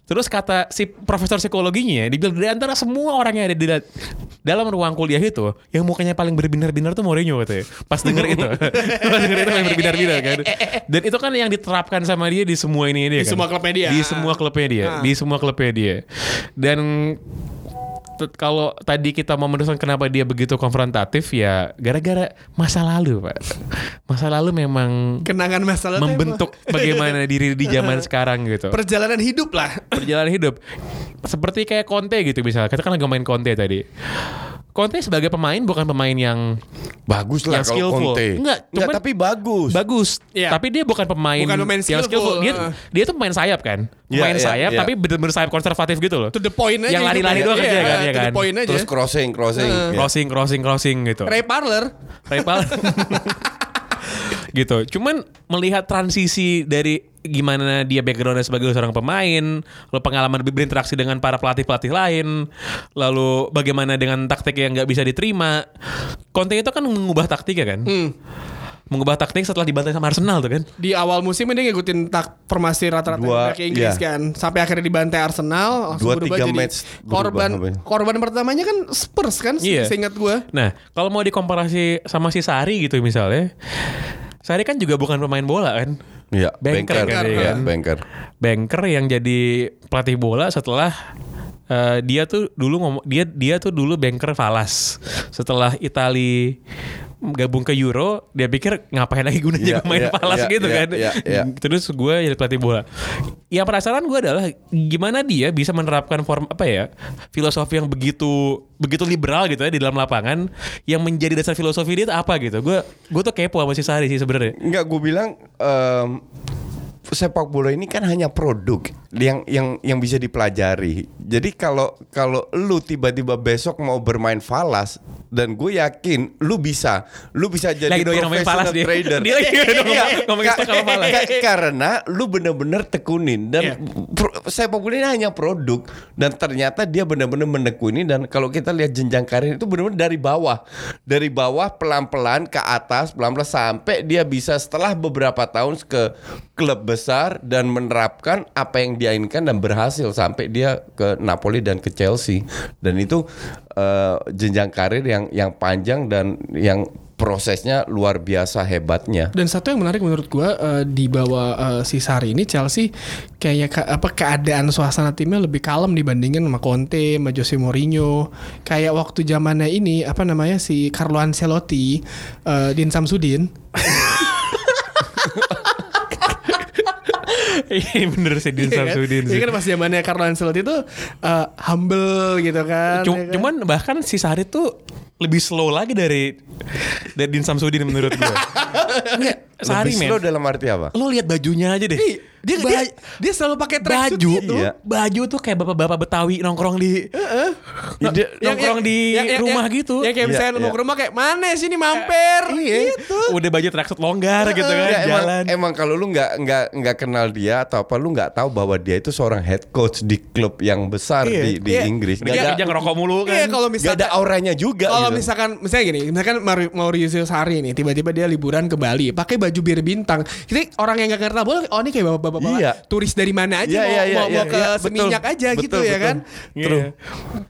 S3: Terus kata si profesor psikologinya, dibilang dari antara semua orang yang ada di da- dalam ruang kuliah itu, yang mukanya paling berbinar-binar tuh Mourinho katanya. Pas denger itu. Pas denger itu paling berbinar-binar kan. Dan itu kan yang diterapkan sama dia di semua ini dia
S4: Di
S3: kan.
S4: semua klubnya dia.
S3: Di semua klubnya dia.
S4: Ah.
S3: Di semua klubnya dia. Dan Tut- kalau tadi kita mau meneruskan kenapa dia begitu konfrontatif ya gara-gara masa lalu pak masa lalu memang
S4: Kenangan masa lalu.
S3: membentuk bagaimana diri di zaman sekarang gitu
S4: perjalanan hidup lah.
S3: perjalanan hidup seperti kayak Conte gitu misalnya kita kan lagi main Conte tadi Conte sebagai pemain bukan pemain yang
S5: Bagus lah
S3: Yang
S5: kalau
S3: skillful.
S5: Conte.
S3: Enggak,
S5: Enggak,
S3: cuman-
S5: tapi bagus.
S3: bagus.
S4: Iya.
S3: Tapi dia bukan pemain,
S4: Bukan pemain
S3: yang
S4: skillful,
S3: Dia,
S4: heeh.
S3: dia tuh pemain sayap kan.
S5: Iya,
S3: Pemain
S5: iya,
S3: sayap
S5: iya.
S3: tapi bener-bener sayap konservatif gitu loh.
S4: To the point aja.
S3: Yang lari-lari
S4: gitu.
S3: doang
S4: Iya,
S3: aja kan, ya
S4: To the
S3: kan?
S4: point aja.
S5: Terus crossing, crossing.
S4: Heeh.
S5: Ya.
S3: Crossing, crossing, crossing gitu.
S4: Ray Parler.
S3: Repal. gitu. Cuman melihat transisi dari gimana dia backgroundnya sebagai seorang pemain, lalu pengalaman lebih berinteraksi dengan para pelatih-pelatih lain, lalu bagaimana dengan taktik yang nggak bisa diterima. Conte itu kan mengubah taktik ya kan? Mengubah taktik setelah dibantai sama Arsenal tuh kan?
S4: Di awal musim dia ngikutin tak formasi rata-rata yang
S5: Dua,
S4: kayak Inggris
S5: iya.
S4: kan. Sampai akhirnya dibantai Arsenal. langsung
S5: Dua,
S4: berubah
S5: tiga
S4: jadi
S5: match berubah ya?
S4: Korban
S5: sampai.
S4: korban pertamanya kan Spurs kan. se-
S3: Iya.
S4: Seingat gue.
S3: Nah, kalau mau dikomparasi sama si Sari gitu misalnya, Sari kan juga bukan pemain bola kan?
S5: Iya,
S3: Banker
S5: banker,
S3: kan dia
S5: ya,
S3: kan?
S5: banker.
S3: banker yang jadi pelatih bola setelah eh, dia tuh dulu ngomong dia dia tuh dulu banker falas setelah Itali gabung ke Euro dia pikir ngapain lagi gunanya
S5: Iya,
S3: gue main
S5: iya,
S3: falas
S5: iya,
S3: gitu
S5: iya,
S3: kan
S5: iya, iya.
S3: terus gue jadi pelatih bola yang penasaran gue adalah gimana dia bisa menerapkan form apa ya filosofi yang begitu begitu liberal gitu ya di dalam lapangan yang menjadi dasar filosofi dia itu apa gitu gue gue tuh kepo sama si Sari sih sebenarnya
S5: Enggak, gue bilang em, sepak bola ini kan hanya produk yang yang yang bisa dipelajari. Jadi kalau kalau lu tiba-tiba besok mau bermain falas dan gue yakin lu bisa, lu bisa jadi
S3: Lagi doyan ngomongin
S5: professional
S3: falas dia.
S5: trader.
S3: Dia lagi doyan ngomong-
S5: Iya,
S3: ngomongin
S5: ka-
S3: stok sama falas.
S5: ka- karena lu bener-bener tekunin
S4: Iya.
S5: dan pro- sepak bola ini hanya produk dan ternyata dia benar-benar menekuni dan kalau kita lihat jenjang karir itu benar-benar dari bawah dari bawah pelan-pelan ke atas pelan-pelan sampai dia bisa setelah beberapa tahun ke klub besar dan menerapkan apa yang dia inginkan dan berhasil sampai dia ke Napoli dan ke Chelsea dan itu eh, jenjang karir yang yang panjang dan yang prosesnya luar biasa hebatnya
S4: Dan satu yang menarik menurut gua eh, di bawah eh, si Sari ini Chelsea kayaknya ke- apa keadaan suasana timnya lebih kalem dibandingin sama Conte, sama Jose Mourinho. Kayak waktu zamannya ini apa namanya si Carlo Ancelotti, eh, Din Samsudin.
S3: Iya bener sih Din
S4: Iya kan?
S3: Samsudin
S4: Iya
S3: sih.
S4: kan pas zamannya Carlo Ancelotti itu eh, humble gitu kan.
S3: Cum-
S4: ya kan?
S3: Cuman bahkan si Sari tuh lebih slow lagi dari dari Din Samsudin menurut gue. Enggak, Sari
S5: Lebih slow
S3: men.
S5: dalam arti apa?
S3: Lo lihat bajunya aja deh.
S4: Ih, dia,
S3: Ba-
S4: dia dia selalu pakai tracksuit
S3: baju
S4: gitu.
S5: Iya.
S3: baju tuh kayak bapak-bapak Betawi nongkrong di
S5: Ya, dia-
S4: Yang-
S3: nongkrong
S4: yang-
S3: di
S4: yang- yang-
S3: rumah
S4: yang-
S3: gitu.
S4: Yang kayak
S5: Iya,
S4: misalnya
S5: iya.
S4: mau ke rumah kayak mana sini mampir gitu.
S3: Udah baju tracksuit longgar gitu kan
S5: Ya, emang,
S3: jalan.
S5: emang kalau lu nggak nggak nggak kenal dia atau apa lu nggak tahu bahwa dia itu seorang head coach di klub yang besar
S4: Iya.
S5: di di
S4: Iya.
S5: Inggris. Nggak
S3: Dia
S5: ada
S3: kerja ngerokok mulu
S4: Iya
S3: kan.
S4: kalau
S5: nggak ada
S4: misalkan
S5: auranya juga.
S4: kalau
S5: gitu.
S4: misalkan misalnya gini, misalkan Maur- Mauricio Sarri nih tiba-tiba dia liburan ke Bali pakai baju bir bintang. Jadi orang yang nggak ngerti bola, oh ini kayak bapak-bapak
S5: Iya.
S4: turis dari mana aja
S5: Iya,
S4: mau,
S5: iya, iya,
S4: mau, mau
S5: iya,
S4: ke
S5: iya, betul.
S4: Seminyak aja
S5: Betul,
S4: gitu ya
S5: betul.
S4: kan.
S3: Iya.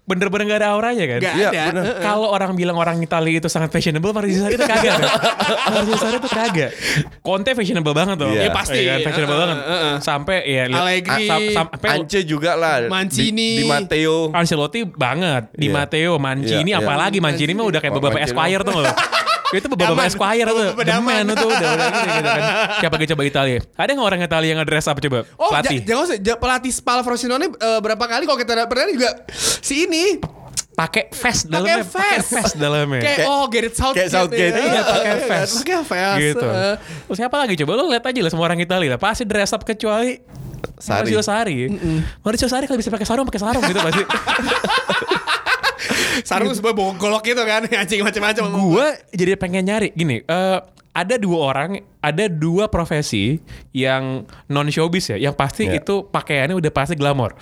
S3: Bener-bener gak ada auranya kan?
S4: Nggak
S5: Iya,
S4: ada.
S5: bener.
S4: Heeh.
S3: Kalau orang bilang orang Italia itu sangat fashionable, Mauricio Sarri itu kagak. kan? Mauricio Sarri itu kagak. Conte fashionable banget tuh.
S4: Ya,
S5: Iya.
S4: pasti.
S3: kan? Fashionable
S4: Heeh,
S3: banget.
S4: heeh, heeh.
S3: Sampai ya lihat-
S4: Allegri.
S3: sam- sampai
S5: Ance juga lah. di-
S4: Mancini.
S5: di, Matteo.
S3: Ancelotti banget, Di
S5: Iya.
S3: Matteo, Mancini
S5: Iya, iya.
S3: apalagi Mancini mah udah kayak
S5: Oh,
S3: bapak
S5: Mancini.
S3: Esquire tuh loh. itu bapak
S4: Daman.
S3: Esquire tuh,
S4: Bapak-bapak Daman.
S3: demen tuh udah udah gitu, gitu kan. Siapa lagi coba Italia? Ada nggak orang Italia yang dress up coba?
S4: Oh, ja-
S3: Pelatih.
S4: jangan usah ja- pelatih Spal Frosinone eh, berapa kali kalau kita pernah juga si ini
S3: pakai
S4: pakai
S3: vest dalamnya, pakai
S4: vest.
S3: vest dalamnya.
S4: Kayak
S5: Kayak-
S4: oh Gareth Southgate.
S5: kayak Southgate.
S4: ya.
S3: Iya pakai
S4: Iya,
S3: vest.
S4: Pakai vest.
S3: Gitu.
S4: Heeh.
S3: Terus siapa lagi coba lo lihat aja lah semua orang Italia lah pasti dress up kecuali
S5: Sarri.
S3: Mauricio Sari. Mauricio Sari kalau bisa pakai sarung pakai sarung gitu pasti.
S4: Sarung sebuah bogolok gitu kan anjing macam-macam.
S3: Gua jadi pengen nyari gini, eh, ada dua orang, ada dua profesi yang non showbiz ya, yang pasti
S5: Iya.
S3: itu pakaiannya udah pasti glamor.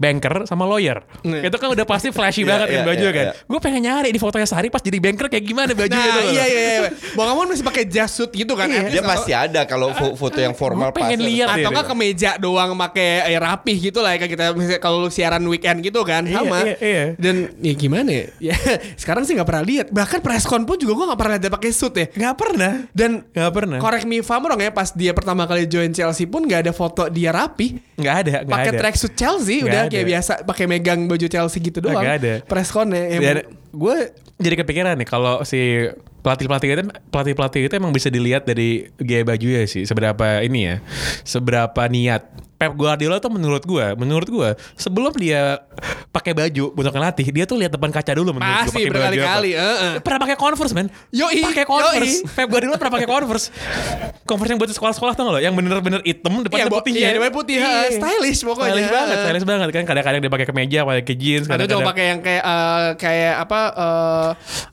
S3: Banker sama lawyer.
S4: Iya.
S3: Itu kan udah pasti flashy
S5: Iya,
S3: banget
S4: ya,
S3: kan
S5: iya,
S3: baju
S5: iya,
S3: kan.
S5: iya.
S3: Gue pengen nyari di fotonya Sari pas jadi banker kayak gimana bajunya
S4: Nah,
S3: itu loh.
S4: iya iya iya. Bang Amon masih pakai jas suit gitu kan. at least
S5: gitu. Iya. Dia pasti ada kalau fo- foto yang
S3: Gua
S5: formal
S3: pengen
S5: pasti.
S3: lihat.
S4: atau
S3: Iya,
S4: enggak
S3: iya.
S4: kemeja doang pakai eh, rapih gitu lah ya kayak kita misalnya kalau lu siaran weekend gitu kan
S3: Iya,
S4: sama
S3: iya, iya.
S4: dan ya gimana ya? ya sekarang sih nggak pernah lihat bahkan presscon pun juga gua nggak pernah lihat dia pakai suit ya
S3: Gak pernah.
S4: dan
S3: Gak pernah.
S4: correct me if I'm wrong ya pas dia pertama kali join Chelsea pun nggak ada foto dia rapi
S3: Nggak ada, nggak
S4: pakai
S3: ada.
S4: tracksuit Chelsea
S3: Nggak
S4: udah
S3: ada.
S4: kayak biasa pakai megang baju Chelsea gitu doang
S3: Nggak ada.
S4: pressconnya ya,
S3: Dan gue jadi kepikiran nih kalau si pelatih-pelatih itu pelatih-pelatih itu emang bisa dilihat dari gaya bajunya sih seberapa ini ya seberapa niat Pep Guardiola tuh menurut gua, menurut gua sebelum dia pakai baju untuk ngelatih, dia tuh lihat depan kaca dulu menurut gua
S4: Pasti
S3: pakai baju apa.
S4: berkali-kali, heeh.
S3: Pernah pakai Converse, men.
S4: Yoi,
S3: pakai Converse. Pep Guardiola pernah pakai Converse. Converse yang buat sekolah-sekolah tau gak lo? Yang bener-bener hitam
S4: Iya,
S3: depannya
S4: bo-
S3: putih. ya.
S4: iya, depannya putih, ha. Stylish pokoknya.
S3: Stylish banget, stylish banget kan kadang-kadang dia pakai kemeja, pakai
S4: Atau
S3: jeans, kadang-kadang
S4: Nah, coba pakai yang kayak eh, kayak apa eh,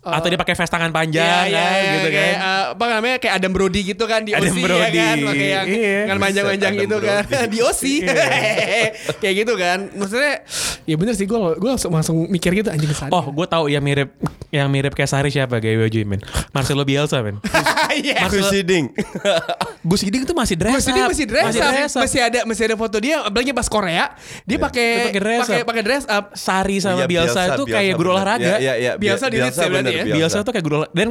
S4: eh,
S3: atau dia pakai vest tangan
S4: Iya,
S3: panjang
S4: iya,
S3: kan,
S4: iya,
S3: gitu kan.
S4: kayak, eh, apa namanya kayak Adam Brody gitu kan di
S3: Adam
S4: OC ya
S3: Brody.
S4: kan pakai yang
S3: Iya.
S4: kan panjang-panjang
S5: Buset,
S4: gitu
S5: Adam
S4: kan
S5: Brody.
S4: di OC kayak gitu kan maksudnya ya bener sih gue gue langsung langsung mikir gitu anjing kesan
S3: Oh, gue tahu yang mirip yang mirip kayak Sari siapa gaya baju men. Marcelo Bielsa men.
S4: iya
S3: Maksud-
S5: Kusiding.
S3: Gus Giding tuh masih dress
S4: Mas ini
S3: up.
S4: masih dress,
S3: masih
S4: up.
S3: dress up. Iya.
S4: masih ada masih ada foto dia apalagi pas Korea dia pakai
S3: Dia pakai dress
S4: pakai
S3: up.
S4: pakai dress up
S3: Sari sama
S5: Iya,
S3: Bielsa, tuh
S5: Bielsa,
S3: kayak
S5: bener.
S3: guru olahraga.
S5: Iya, iya, iya.
S4: Bielsa di Leeds ya berarti
S5: bener,
S4: ya?
S3: Bielsa tuh kayak guru olah- dan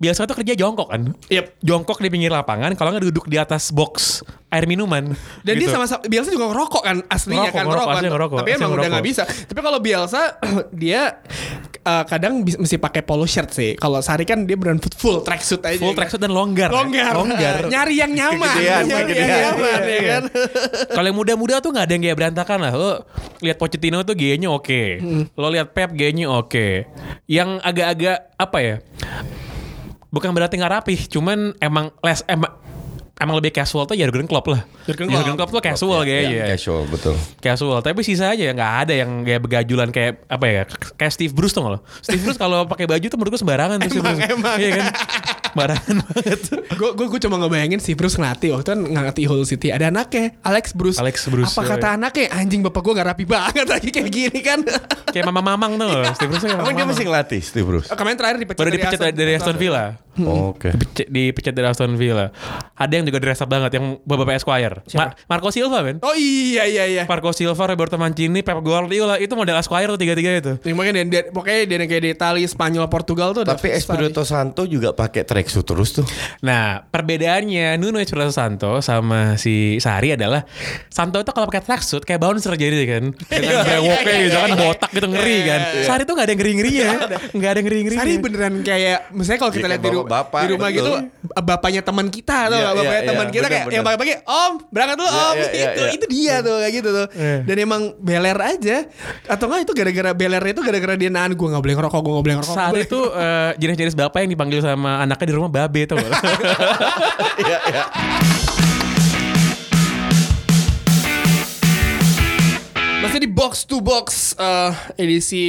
S3: Bielsa tuh kerja jongkok kan.
S4: Yep.
S3: Jongkok di pinggir lapangan kalau nggak duduk di atas box air minuman.
S4: Dan dia
S3: Gitu.
S4: sama Bielsa juga ngerokok kan aslinya
S3: Ngerokok,
S4: kan
S3: ngerokok,
S4: ngerokok, kan.
S3: aslinya ngerokok,
S4: Tapi
S3: aslinya
S4: emang udah
S3: ngerokok.
S4: nggak bisa. Tapi kalau Bielsa dia eh, kadang bis- mesti pakai polo shirt sih. Kalau Sari kan dia beneran full tracksuit aja.
S3: full
S4: kan.
S3: tracksuit dan longgar.
S4: Longgar.
S3: Longgar. Iya,
S4: Eh, nyari yang nyaman.
S5: Kegedean,
S4: nyari
S5: kegedean.
S4: yang nyaman ya kan.
S3: Kalau yang muda-muda tuh nggak ada yang gaya berantakan lah. Lo lihat Pochettino tuh gayanya oke. Lo lihat Pep gayanya oke. Yang agak-agak apa ya? Bukan berarti nggak rapih, cuman emang les emang emang lebih casual tuh Jurgen Klopp lah.
S4: Jurgen Klopp.
S3: Klopp tuh casual
S5: Iya,
S3: gayanya.
S5: Casual betul.
S3: Casual, tapi sisa aja nggak ada yang kayak begajulan kayak apa ya? Kayak Steve Bruce tuh lo. Steve Bruce kalau pakai baju tuh menurut gue sembarangan tuh Steve
S4: Emang,
S3: Bruce.
S4: emang.
S3: Iya kan? Sembarangan banget.
S4: Gue gue cuma ngebayangin si Bruce ngelatih waktu kan ngelatih Hull City ada anaknya Alex Bruce.
S3: Alex Bruce, iya.
S4: Apa kata
S3: yoi.
S4: anaknya anjing bapak gue gak rapi banget lagi kayak gini kan.
S3: Kayak Mama Mamang tuh. lo. Steve Bruce tuh kayak
S5: Emang
S3: Mama
S5: dia
S3: Mamang.
S5: masih ngelatih Steve Bruce? Oh,
S4: Kemarin terakhir dipecat
S3: Baru dipecat dari, dari Aston Villa.
S5: Oke.
S3: Dipecat- dipecat dari Aston Villa. Ada yang juga dress up banget yang bapak Esquire. Ma- Marco Silva men.
S4: Oh iya iya iya.
S3: Marco Silva, Roberto Mancini, Pep Guardiola itu model Esquire tuh tiga-tiga itu.
S4: Ya, makanya dia, dia- pokoknya dia yang kayak di Itali, Spanyol, Portugal tuh ada
S5: Tapi
S4: fix tadi.
S5: Espirito Santo juga pakai tracksuit terus tuh.
S3: Nah, perbedaannya Nuno Espirito Santo sama si Sari adalah Santo itu kalau pakai tracksuit kayak bouncer jadi kan.
S4: Iya,
S3: Dengan brewoknya gitu kan botak gitu ngeri kan. Sari tuh gak ada yang ngeri-ngerinya. Gak ada yang ngeri-ngerinya.
S4: Sari beneran kayak misalnya kalau kita
S5: Iya,
S4: lihat
S5: kayak
S4: di rumah,
S5: bapak-bapak,
S4: di rumah
S5: betul.
S4: gitu bapaknya teman kita atau
S5: Iya,
S4: nggak bapaknya
S5: iya,
S4: teman kita
S5: iya,
S4: kayak
S5: bener-bener.
S4: yang pakai-pakai om berangkat dulu
S5: Iya,
S4: om gitu.
S5: iya, iya,
S4: itu
S5: iya.
S4: itu dia tuh kayak gitu tuh dan emang beler aja atau enggak itu gara-gara beler itu gara-gara dia nahan gue nggak boleh ngerokok gue nggak boleh ngerokok
S3: Saat
S4: gua-
S3: itu eh, jenis-jenis bapak yang dipanggil sama anaknya di rumah babe tuh.
S5: Iya,
S4: Masih di box to box eh, edisi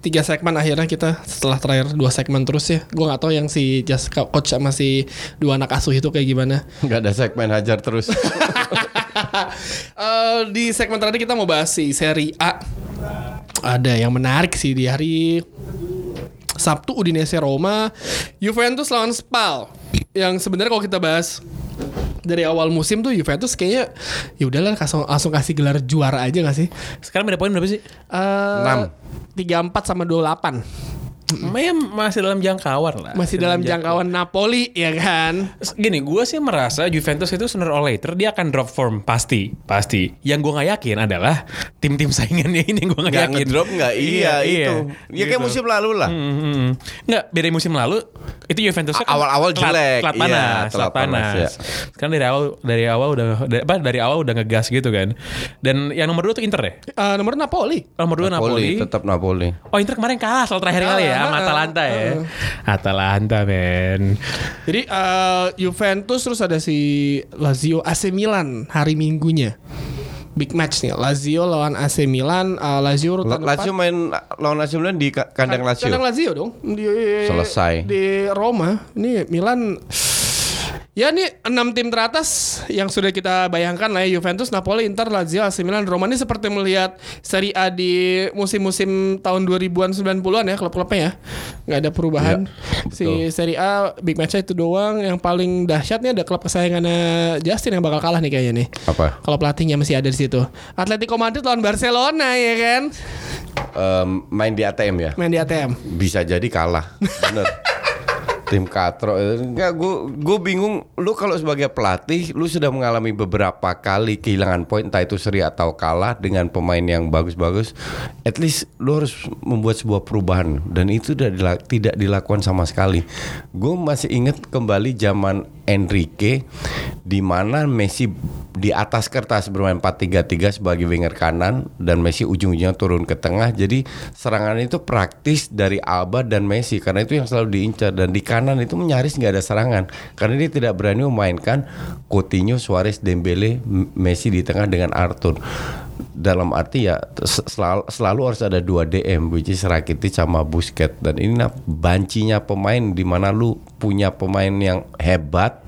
S4: tiga segmen akhirnya kita setelah terakhir dua segmen terus ya. Gue nggak tahu yang si just Co- coach sama si dua anak asuh itu kayak gimana.
S5: Gak ada segmen hajar terus.
S4: Eh, di segmen terakhir kita mau bahas si seri A. Ada yang menarik sih di hari Sabtu Udinese Roma, Juventus lawan Spal. Yang sebenarnya kalau kita bahas dari awal musim tuh Juventus kayaknya ya udahlah langsung, langsung kasih gelar juara aja gak sih?
S3: Sekarang beda poin berapa sih?
S4: Enam. Tiga empat sama dua delapan
S3: Ya masih dalam jangkauan lah.
S4: masih dalam jangkauan Napoli ya kan?
S3: Gini, gue sih merasa Juventus itu sooner or later dia akan drop form pasti, pasti. Yang gue nggak yakin adalah tim-tim saingannya ini yang gue nggak
S5: Gak
S3: yakin.
S5: ngedrop gak? Iya, itu. Ya kayak
S3: Gitu.
S5: musim lalu lah.
S3: Hmm, hmm, hmm. Nggak beda musim lalu itu Juventus kan
S5: A- awal-awal jelek.
S3: telat
S5: Iya,
S3: panas, telat
S5: telat panas,
S3: panas.
S5: ya.
S3: Sekarang dari awal dari awal udah dari, apa, dari awal udah ngegas gitu kan. Dan yang nomor dua tuh Inter ya.
S4: Eh, nomor Napoli.
S3: Nomor dua Napoli.
S5: tetap Napoli.
S3: Oh
S5: Ah,
S3: Inter kemarin kalah soal terakhir kali ya
S4: Kalah,
S3: sama Atalanta ya. Atalanta men.
S4: Jadi eh, Juventus terus ada si Lazio AC Milan hari Minggunya. Big match nih Lazio lawan AC Milan eh, Lazio urutan
S5: La- Lazio
S4: empat.
S5: main lawan Lazio Milan di ka- kandang Lazio.
S4: Kandang Lazio dong di,
S5: Selesai.
S4: Di Roma Ini Milan Ya ini enam tim teratas yang sudah kita bayangkan lah ya Juventus, Napoli, Inter, Lazio, AC Milan, Roma ini seperti melihat Serie A di musim-musim tahun 2000-an 90-an ya klub-klubnya ya. nggak ada perubahan.
S5: Iya,
S4: si Serie A big match itu doang yang paling dahsyatnya ada klub kesayangannya Justin yang bakal kalah nih kayaknya nih.
S5: Apa?
S4: Kalau pelatihnya masih ada di situ. Atletico Madrid lawan Barcelona ya kan.
S5: Em, main di ATM ya?
S4: Main di ATM.
S5: Bisa jadi kalah. Bener. Tim Katro Enggak gue gue bingung Lu kalau sebagai pelatih Lu sudah mengalami beberapa kali Kehilangan poin Entah itu seri atau kalah Dengan pemain yang bagus-bagus At least Lu harus membuat sebuah perubahan Dan itu udah dila- tidak dilakukan sama sekali Gue masih ingat kembali zaman Enrique di mana Messi di atas kertas bermain 4-3-3 sebagai winger kanan dan Messi ujung-ujungnya turun ke tengah. Jadi serangan itu praktis dari Alba dan Messi karena itu yang selalu diincar dan di kanan itu nyaris nggak ada serangan karena dia tidak berani memainkan Coutinho, Suarez, Dembele, M- Messi di tengah dengan Arthur. Dalam arti ya se- selal- selalu, harus ada dua DM which is Rakitic sama Busquets dan ini nah, bancinya pemain di mana lu punya pemain yang hebat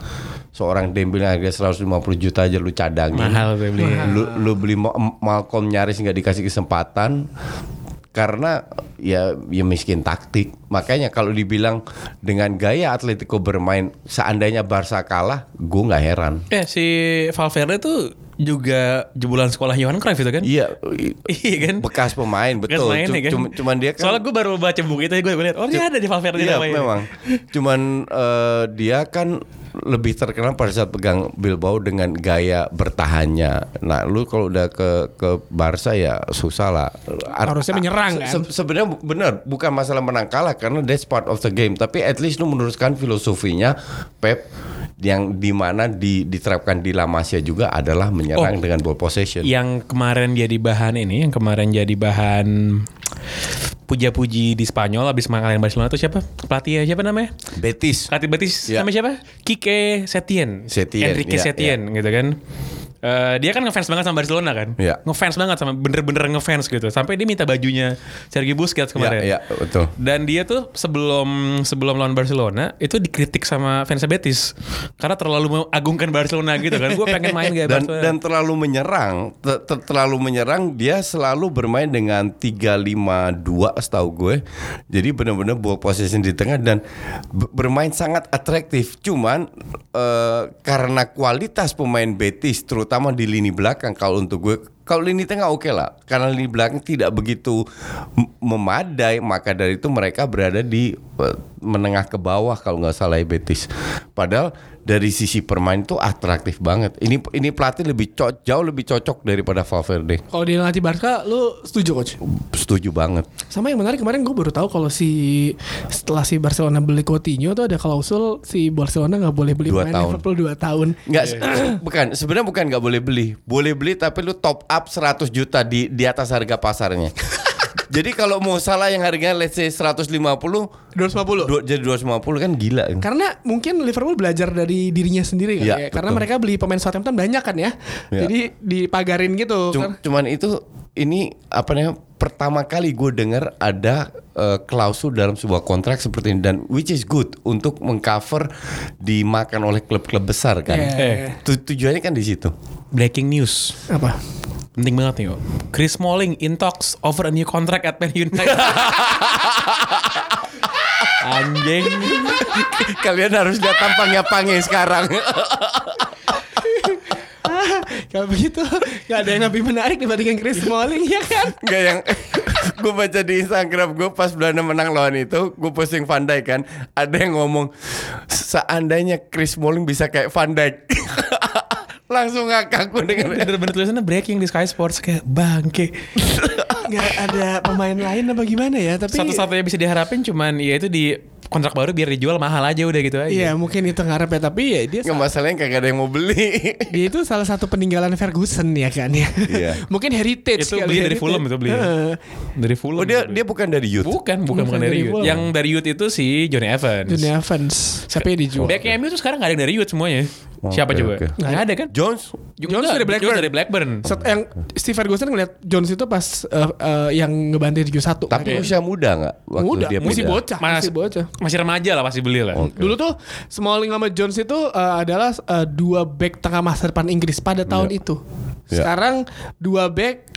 S5: seorang Dembele yang harga 150 juta aja lu cadangin
S3: Mahal tuh beli.
S5: lu, lu beli Ma- Malcolm nyaris nggak dikasih kesempatan karena ya ya miskin taktik makanya kalau dibilang dengan gaya Atletico bermain seandainya Barca kalah gue nggak heran
S3: Eh si Valverde tuh juga jebolan sekolah Johan Cruyff itu kan?
S5: iya
S3: Iya kan?
S5: bekas pemain betul
S3: Kan mainnya
S5: Cum-
S3: kan?
S5: cum- cuman dia kan
S3: Soalnya gue baru baca buku itu gue lihat. Oh dia ada di Valverde
S5: Iya
S3: namanya.
S5: memang. Cuman eh, dia kan lebih terkenal pada saat pegang Bilbao dengan gaya bertahannya. Nah, lu kalau udah ke ke Barca ya susah lah. Ar-
S4: Harusnya menyerang,
S5: se-
S4: kan?
S5: se- Sebenarnya bu- benar, bukan masalah menang kalah karena that's part of the game. Tapi at least lu meneruskan filosofinya Pep yang dimana di, diterapkan di La Masia juga adalah menyerang
S3: Oh.
S5: dengan ball possession.
S3: yang kemarin jadi bahan ini, yang kemarin jadi bahan puja-puji di Spanyol abis mengalahin Barcelona itu siapa? Pelatih siapa namanya?
S5: Betis.
S3: Pelatih Betis
S5: Iya.
S3: namanya siapa? Kike Setien.
S5: Setien,
S3: Enrique
S5: iya,
S3: Setien gitu kan. Eh, dia kan ngefans banget sama Barcelona kan?
S5: Iya.
S3: Ngefans banget sama bener-bener ngefans gitu. Sampai dia minta bajunya Sergio Busquets kemarin.
S5: Iya, iya, betul.
S3: Dan dia tuh sebelum sebelum lawan Barcelona itu dikritik sama fans Betis karena terlalu mengagungkan Barcelona gitu kan. Gue pengen main kayak
S5: dan
S3: Barcelona.
S5: dan terlalu menyerang Ter- ter- terlalu menyerang dia selalu bermain dengan 352 setahu gue jadi benar-benar ball possession di tengah dan be- bermain sangat atraktif cuman eh, karena kualitas pemain Betis terutama di lini belakang kalau untuk gue kalau lini tengah oke lah karena lini belakang tidak begitu m- memadai maka dari itu mereka berada di eh, menengah ke bawah kalau nggak salah ya Betis padahal dari sisi permain itu atraktif banget ini ini pelatih lebih co- jauh lebih cocok daripada Valverde
S4: Kalau dia ngelatih Barca, lu setuju coach?
S5: setuju banget
S4: Sama yang menarik kemarin gue baru tahu kalau si setelah si Barcelona beli Coutinho tuh ada klausul si Barcelona nggak boleh beli
S5: Dua
S4: pemain
S5: tahun.
S4: Liverpool 2 tahun.
S5: Nggak, se- bukan. Sebenarnya bukan nggak boleh beli. Boleh beli tapi lu top up 100 juta di di atas harga pasarnya. Jadi kalau mau salah yang harganya let's say 150
S4: 250.
S5: du- jadi 250 kan gila. kan?
S4: Karena mungkin Liverpool belajar dari dirinya sendiri kan
S5: Iya,
S4: ya. Karena
S5: betul.
S4: mereka beli pemain Southampton banyak kan ya.
S5: Iya.
S4: Jadi dipagarin gitu.
S5: Cum- cuman itu ini apa namanya pertama kali gue dengar ada eh, klausul dalam sebuah kontrak seperti ini dan which is good untuk mengcover dimakan oleh klub-klub besar kan.
S4: Iya.
S3: Eh,
S5: Tu- tujuannya kan di situ.
S3: breaking news.
S4: Apa?
S3: Penting banget nih, Yo. Chris Smalling in talks over a new contract at Man United. Anjing.
S5: Kalian harus lihat tampangnya Pange sekarang.
S4: Kalau begitu nggak ada yang lebih menarik dibandingkan Chris Smalling ya kan?
S5: Enggak yang gue baca di Instagram gue pas Belanda menang lawan itu gue posting Van Dijk kan ada yang ngomong seandainya Chris Smalling bisa kayak Van Dijk langsung ngakak gue denger
S3: Bener-bener tulisannya breaking di Sky Sports kayak bangke.
S4: Nggak ada pemain lain apa gimana ya? Tapi
S3: Satu-satunya bisa diharapin cuman ya itu di kontrak baru biar dijual mahal aja udah gitu aja.
S4: Iya mungkin itu ngarep ya tapi ya dia
S5: nggak masalahnya kagak ada yang mau beli
S4: dia itu salah satu peninggalan Ferguson ya kan ya.
S5: Iya.
S4: mungkin heritage
S3: Itu
S4: kali,
S3: beli dari
S4: heritage.
S3: Fulham itu beli. ya.
S4: Heeh.
S3: Dari Fulham.
S5: oh dia dia bukan dari youth
S3: bukan, bukan, bukan dari Youth.
S4: Fulham.
S3: Yang dari Youth itu si Johnny Evans.
S4: Dunia fans. Siapa ya yang dijual?
S3: Backnya MU tuh sekarang gak ada yang dari Youth semuanya.
S4: Oh,
S5: Oke,
S3: Siapa coba?
S5: oke.
S3: Gak ada kan?
S5: Jones
S4: Jones
S3: Enggak,
S4: dari Blackburn.
S3: Jones dari Blackburn.
S4: Set- yang Steve Ferguson ngeliat Jones itu pas eh, eh, yang ngebantai di Q1.
S5: tapi usia muda nggak waktu
S4: muda,
S5: dia
S4: masih
S5: pindah?
S4: bocah,
S3: Mas-
S4: masih bocah.
S3: Masih remaja lah pasti beli lah.
S5: Oke.
S4: Dulu tuh Smalling sama Jones itu eh, adalah eh, dua back tengah masa depan Inggris pada tahun itu.
S5: Iya.
S4: Sekarang dua back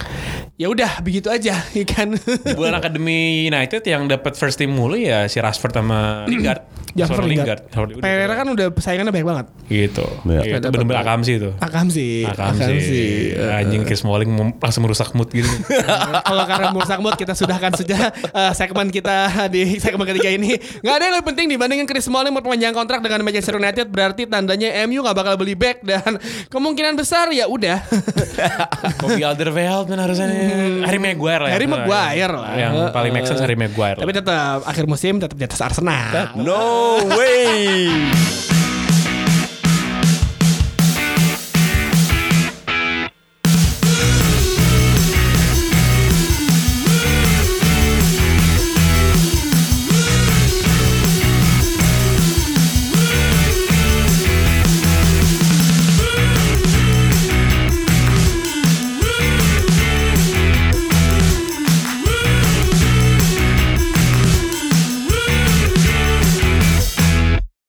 S4: ya udah begitu aja ya kan.
S3: Di bulan Akademi United yang dapat first team mulu ya si Rashford sama Lingard.
S4: Jasper
S3: Seorang
S4: Lingard.
S3: Seorang Lingard.
S4: Pereira kan udah saingannya banyak banget.
S3: gitu.
S4: Ya.
S5: Iya.
S3: Iya, Itu benar-benar akam sih itu.
S4: Akam sih.
S3: Akam sih. Eh, Iya. Anjing Chris Smalling mem- langsung merusak mood gitu.
S4: Kalau karena merusak mood kita sudahkan saja eh, segmen kita di segmen ketiga ini. Nggak ada yang lebih penting dibandingin Chris Smalling memperpanjang kontrak dengan Manchester United berarti tandanya MU nggak bakal beli back dan kemungkinan besar ya udah.
S3: Bobby Alderweireld kan harusnya Harry Maguire lah.
S4: Harry
S3: Yang-
S4: Maguire lah. Eh,
S3: Yang paling make sense Harry Maguire.
S4: Tapi tetap akhir musim tetap di atas Arsenal.
S5: no way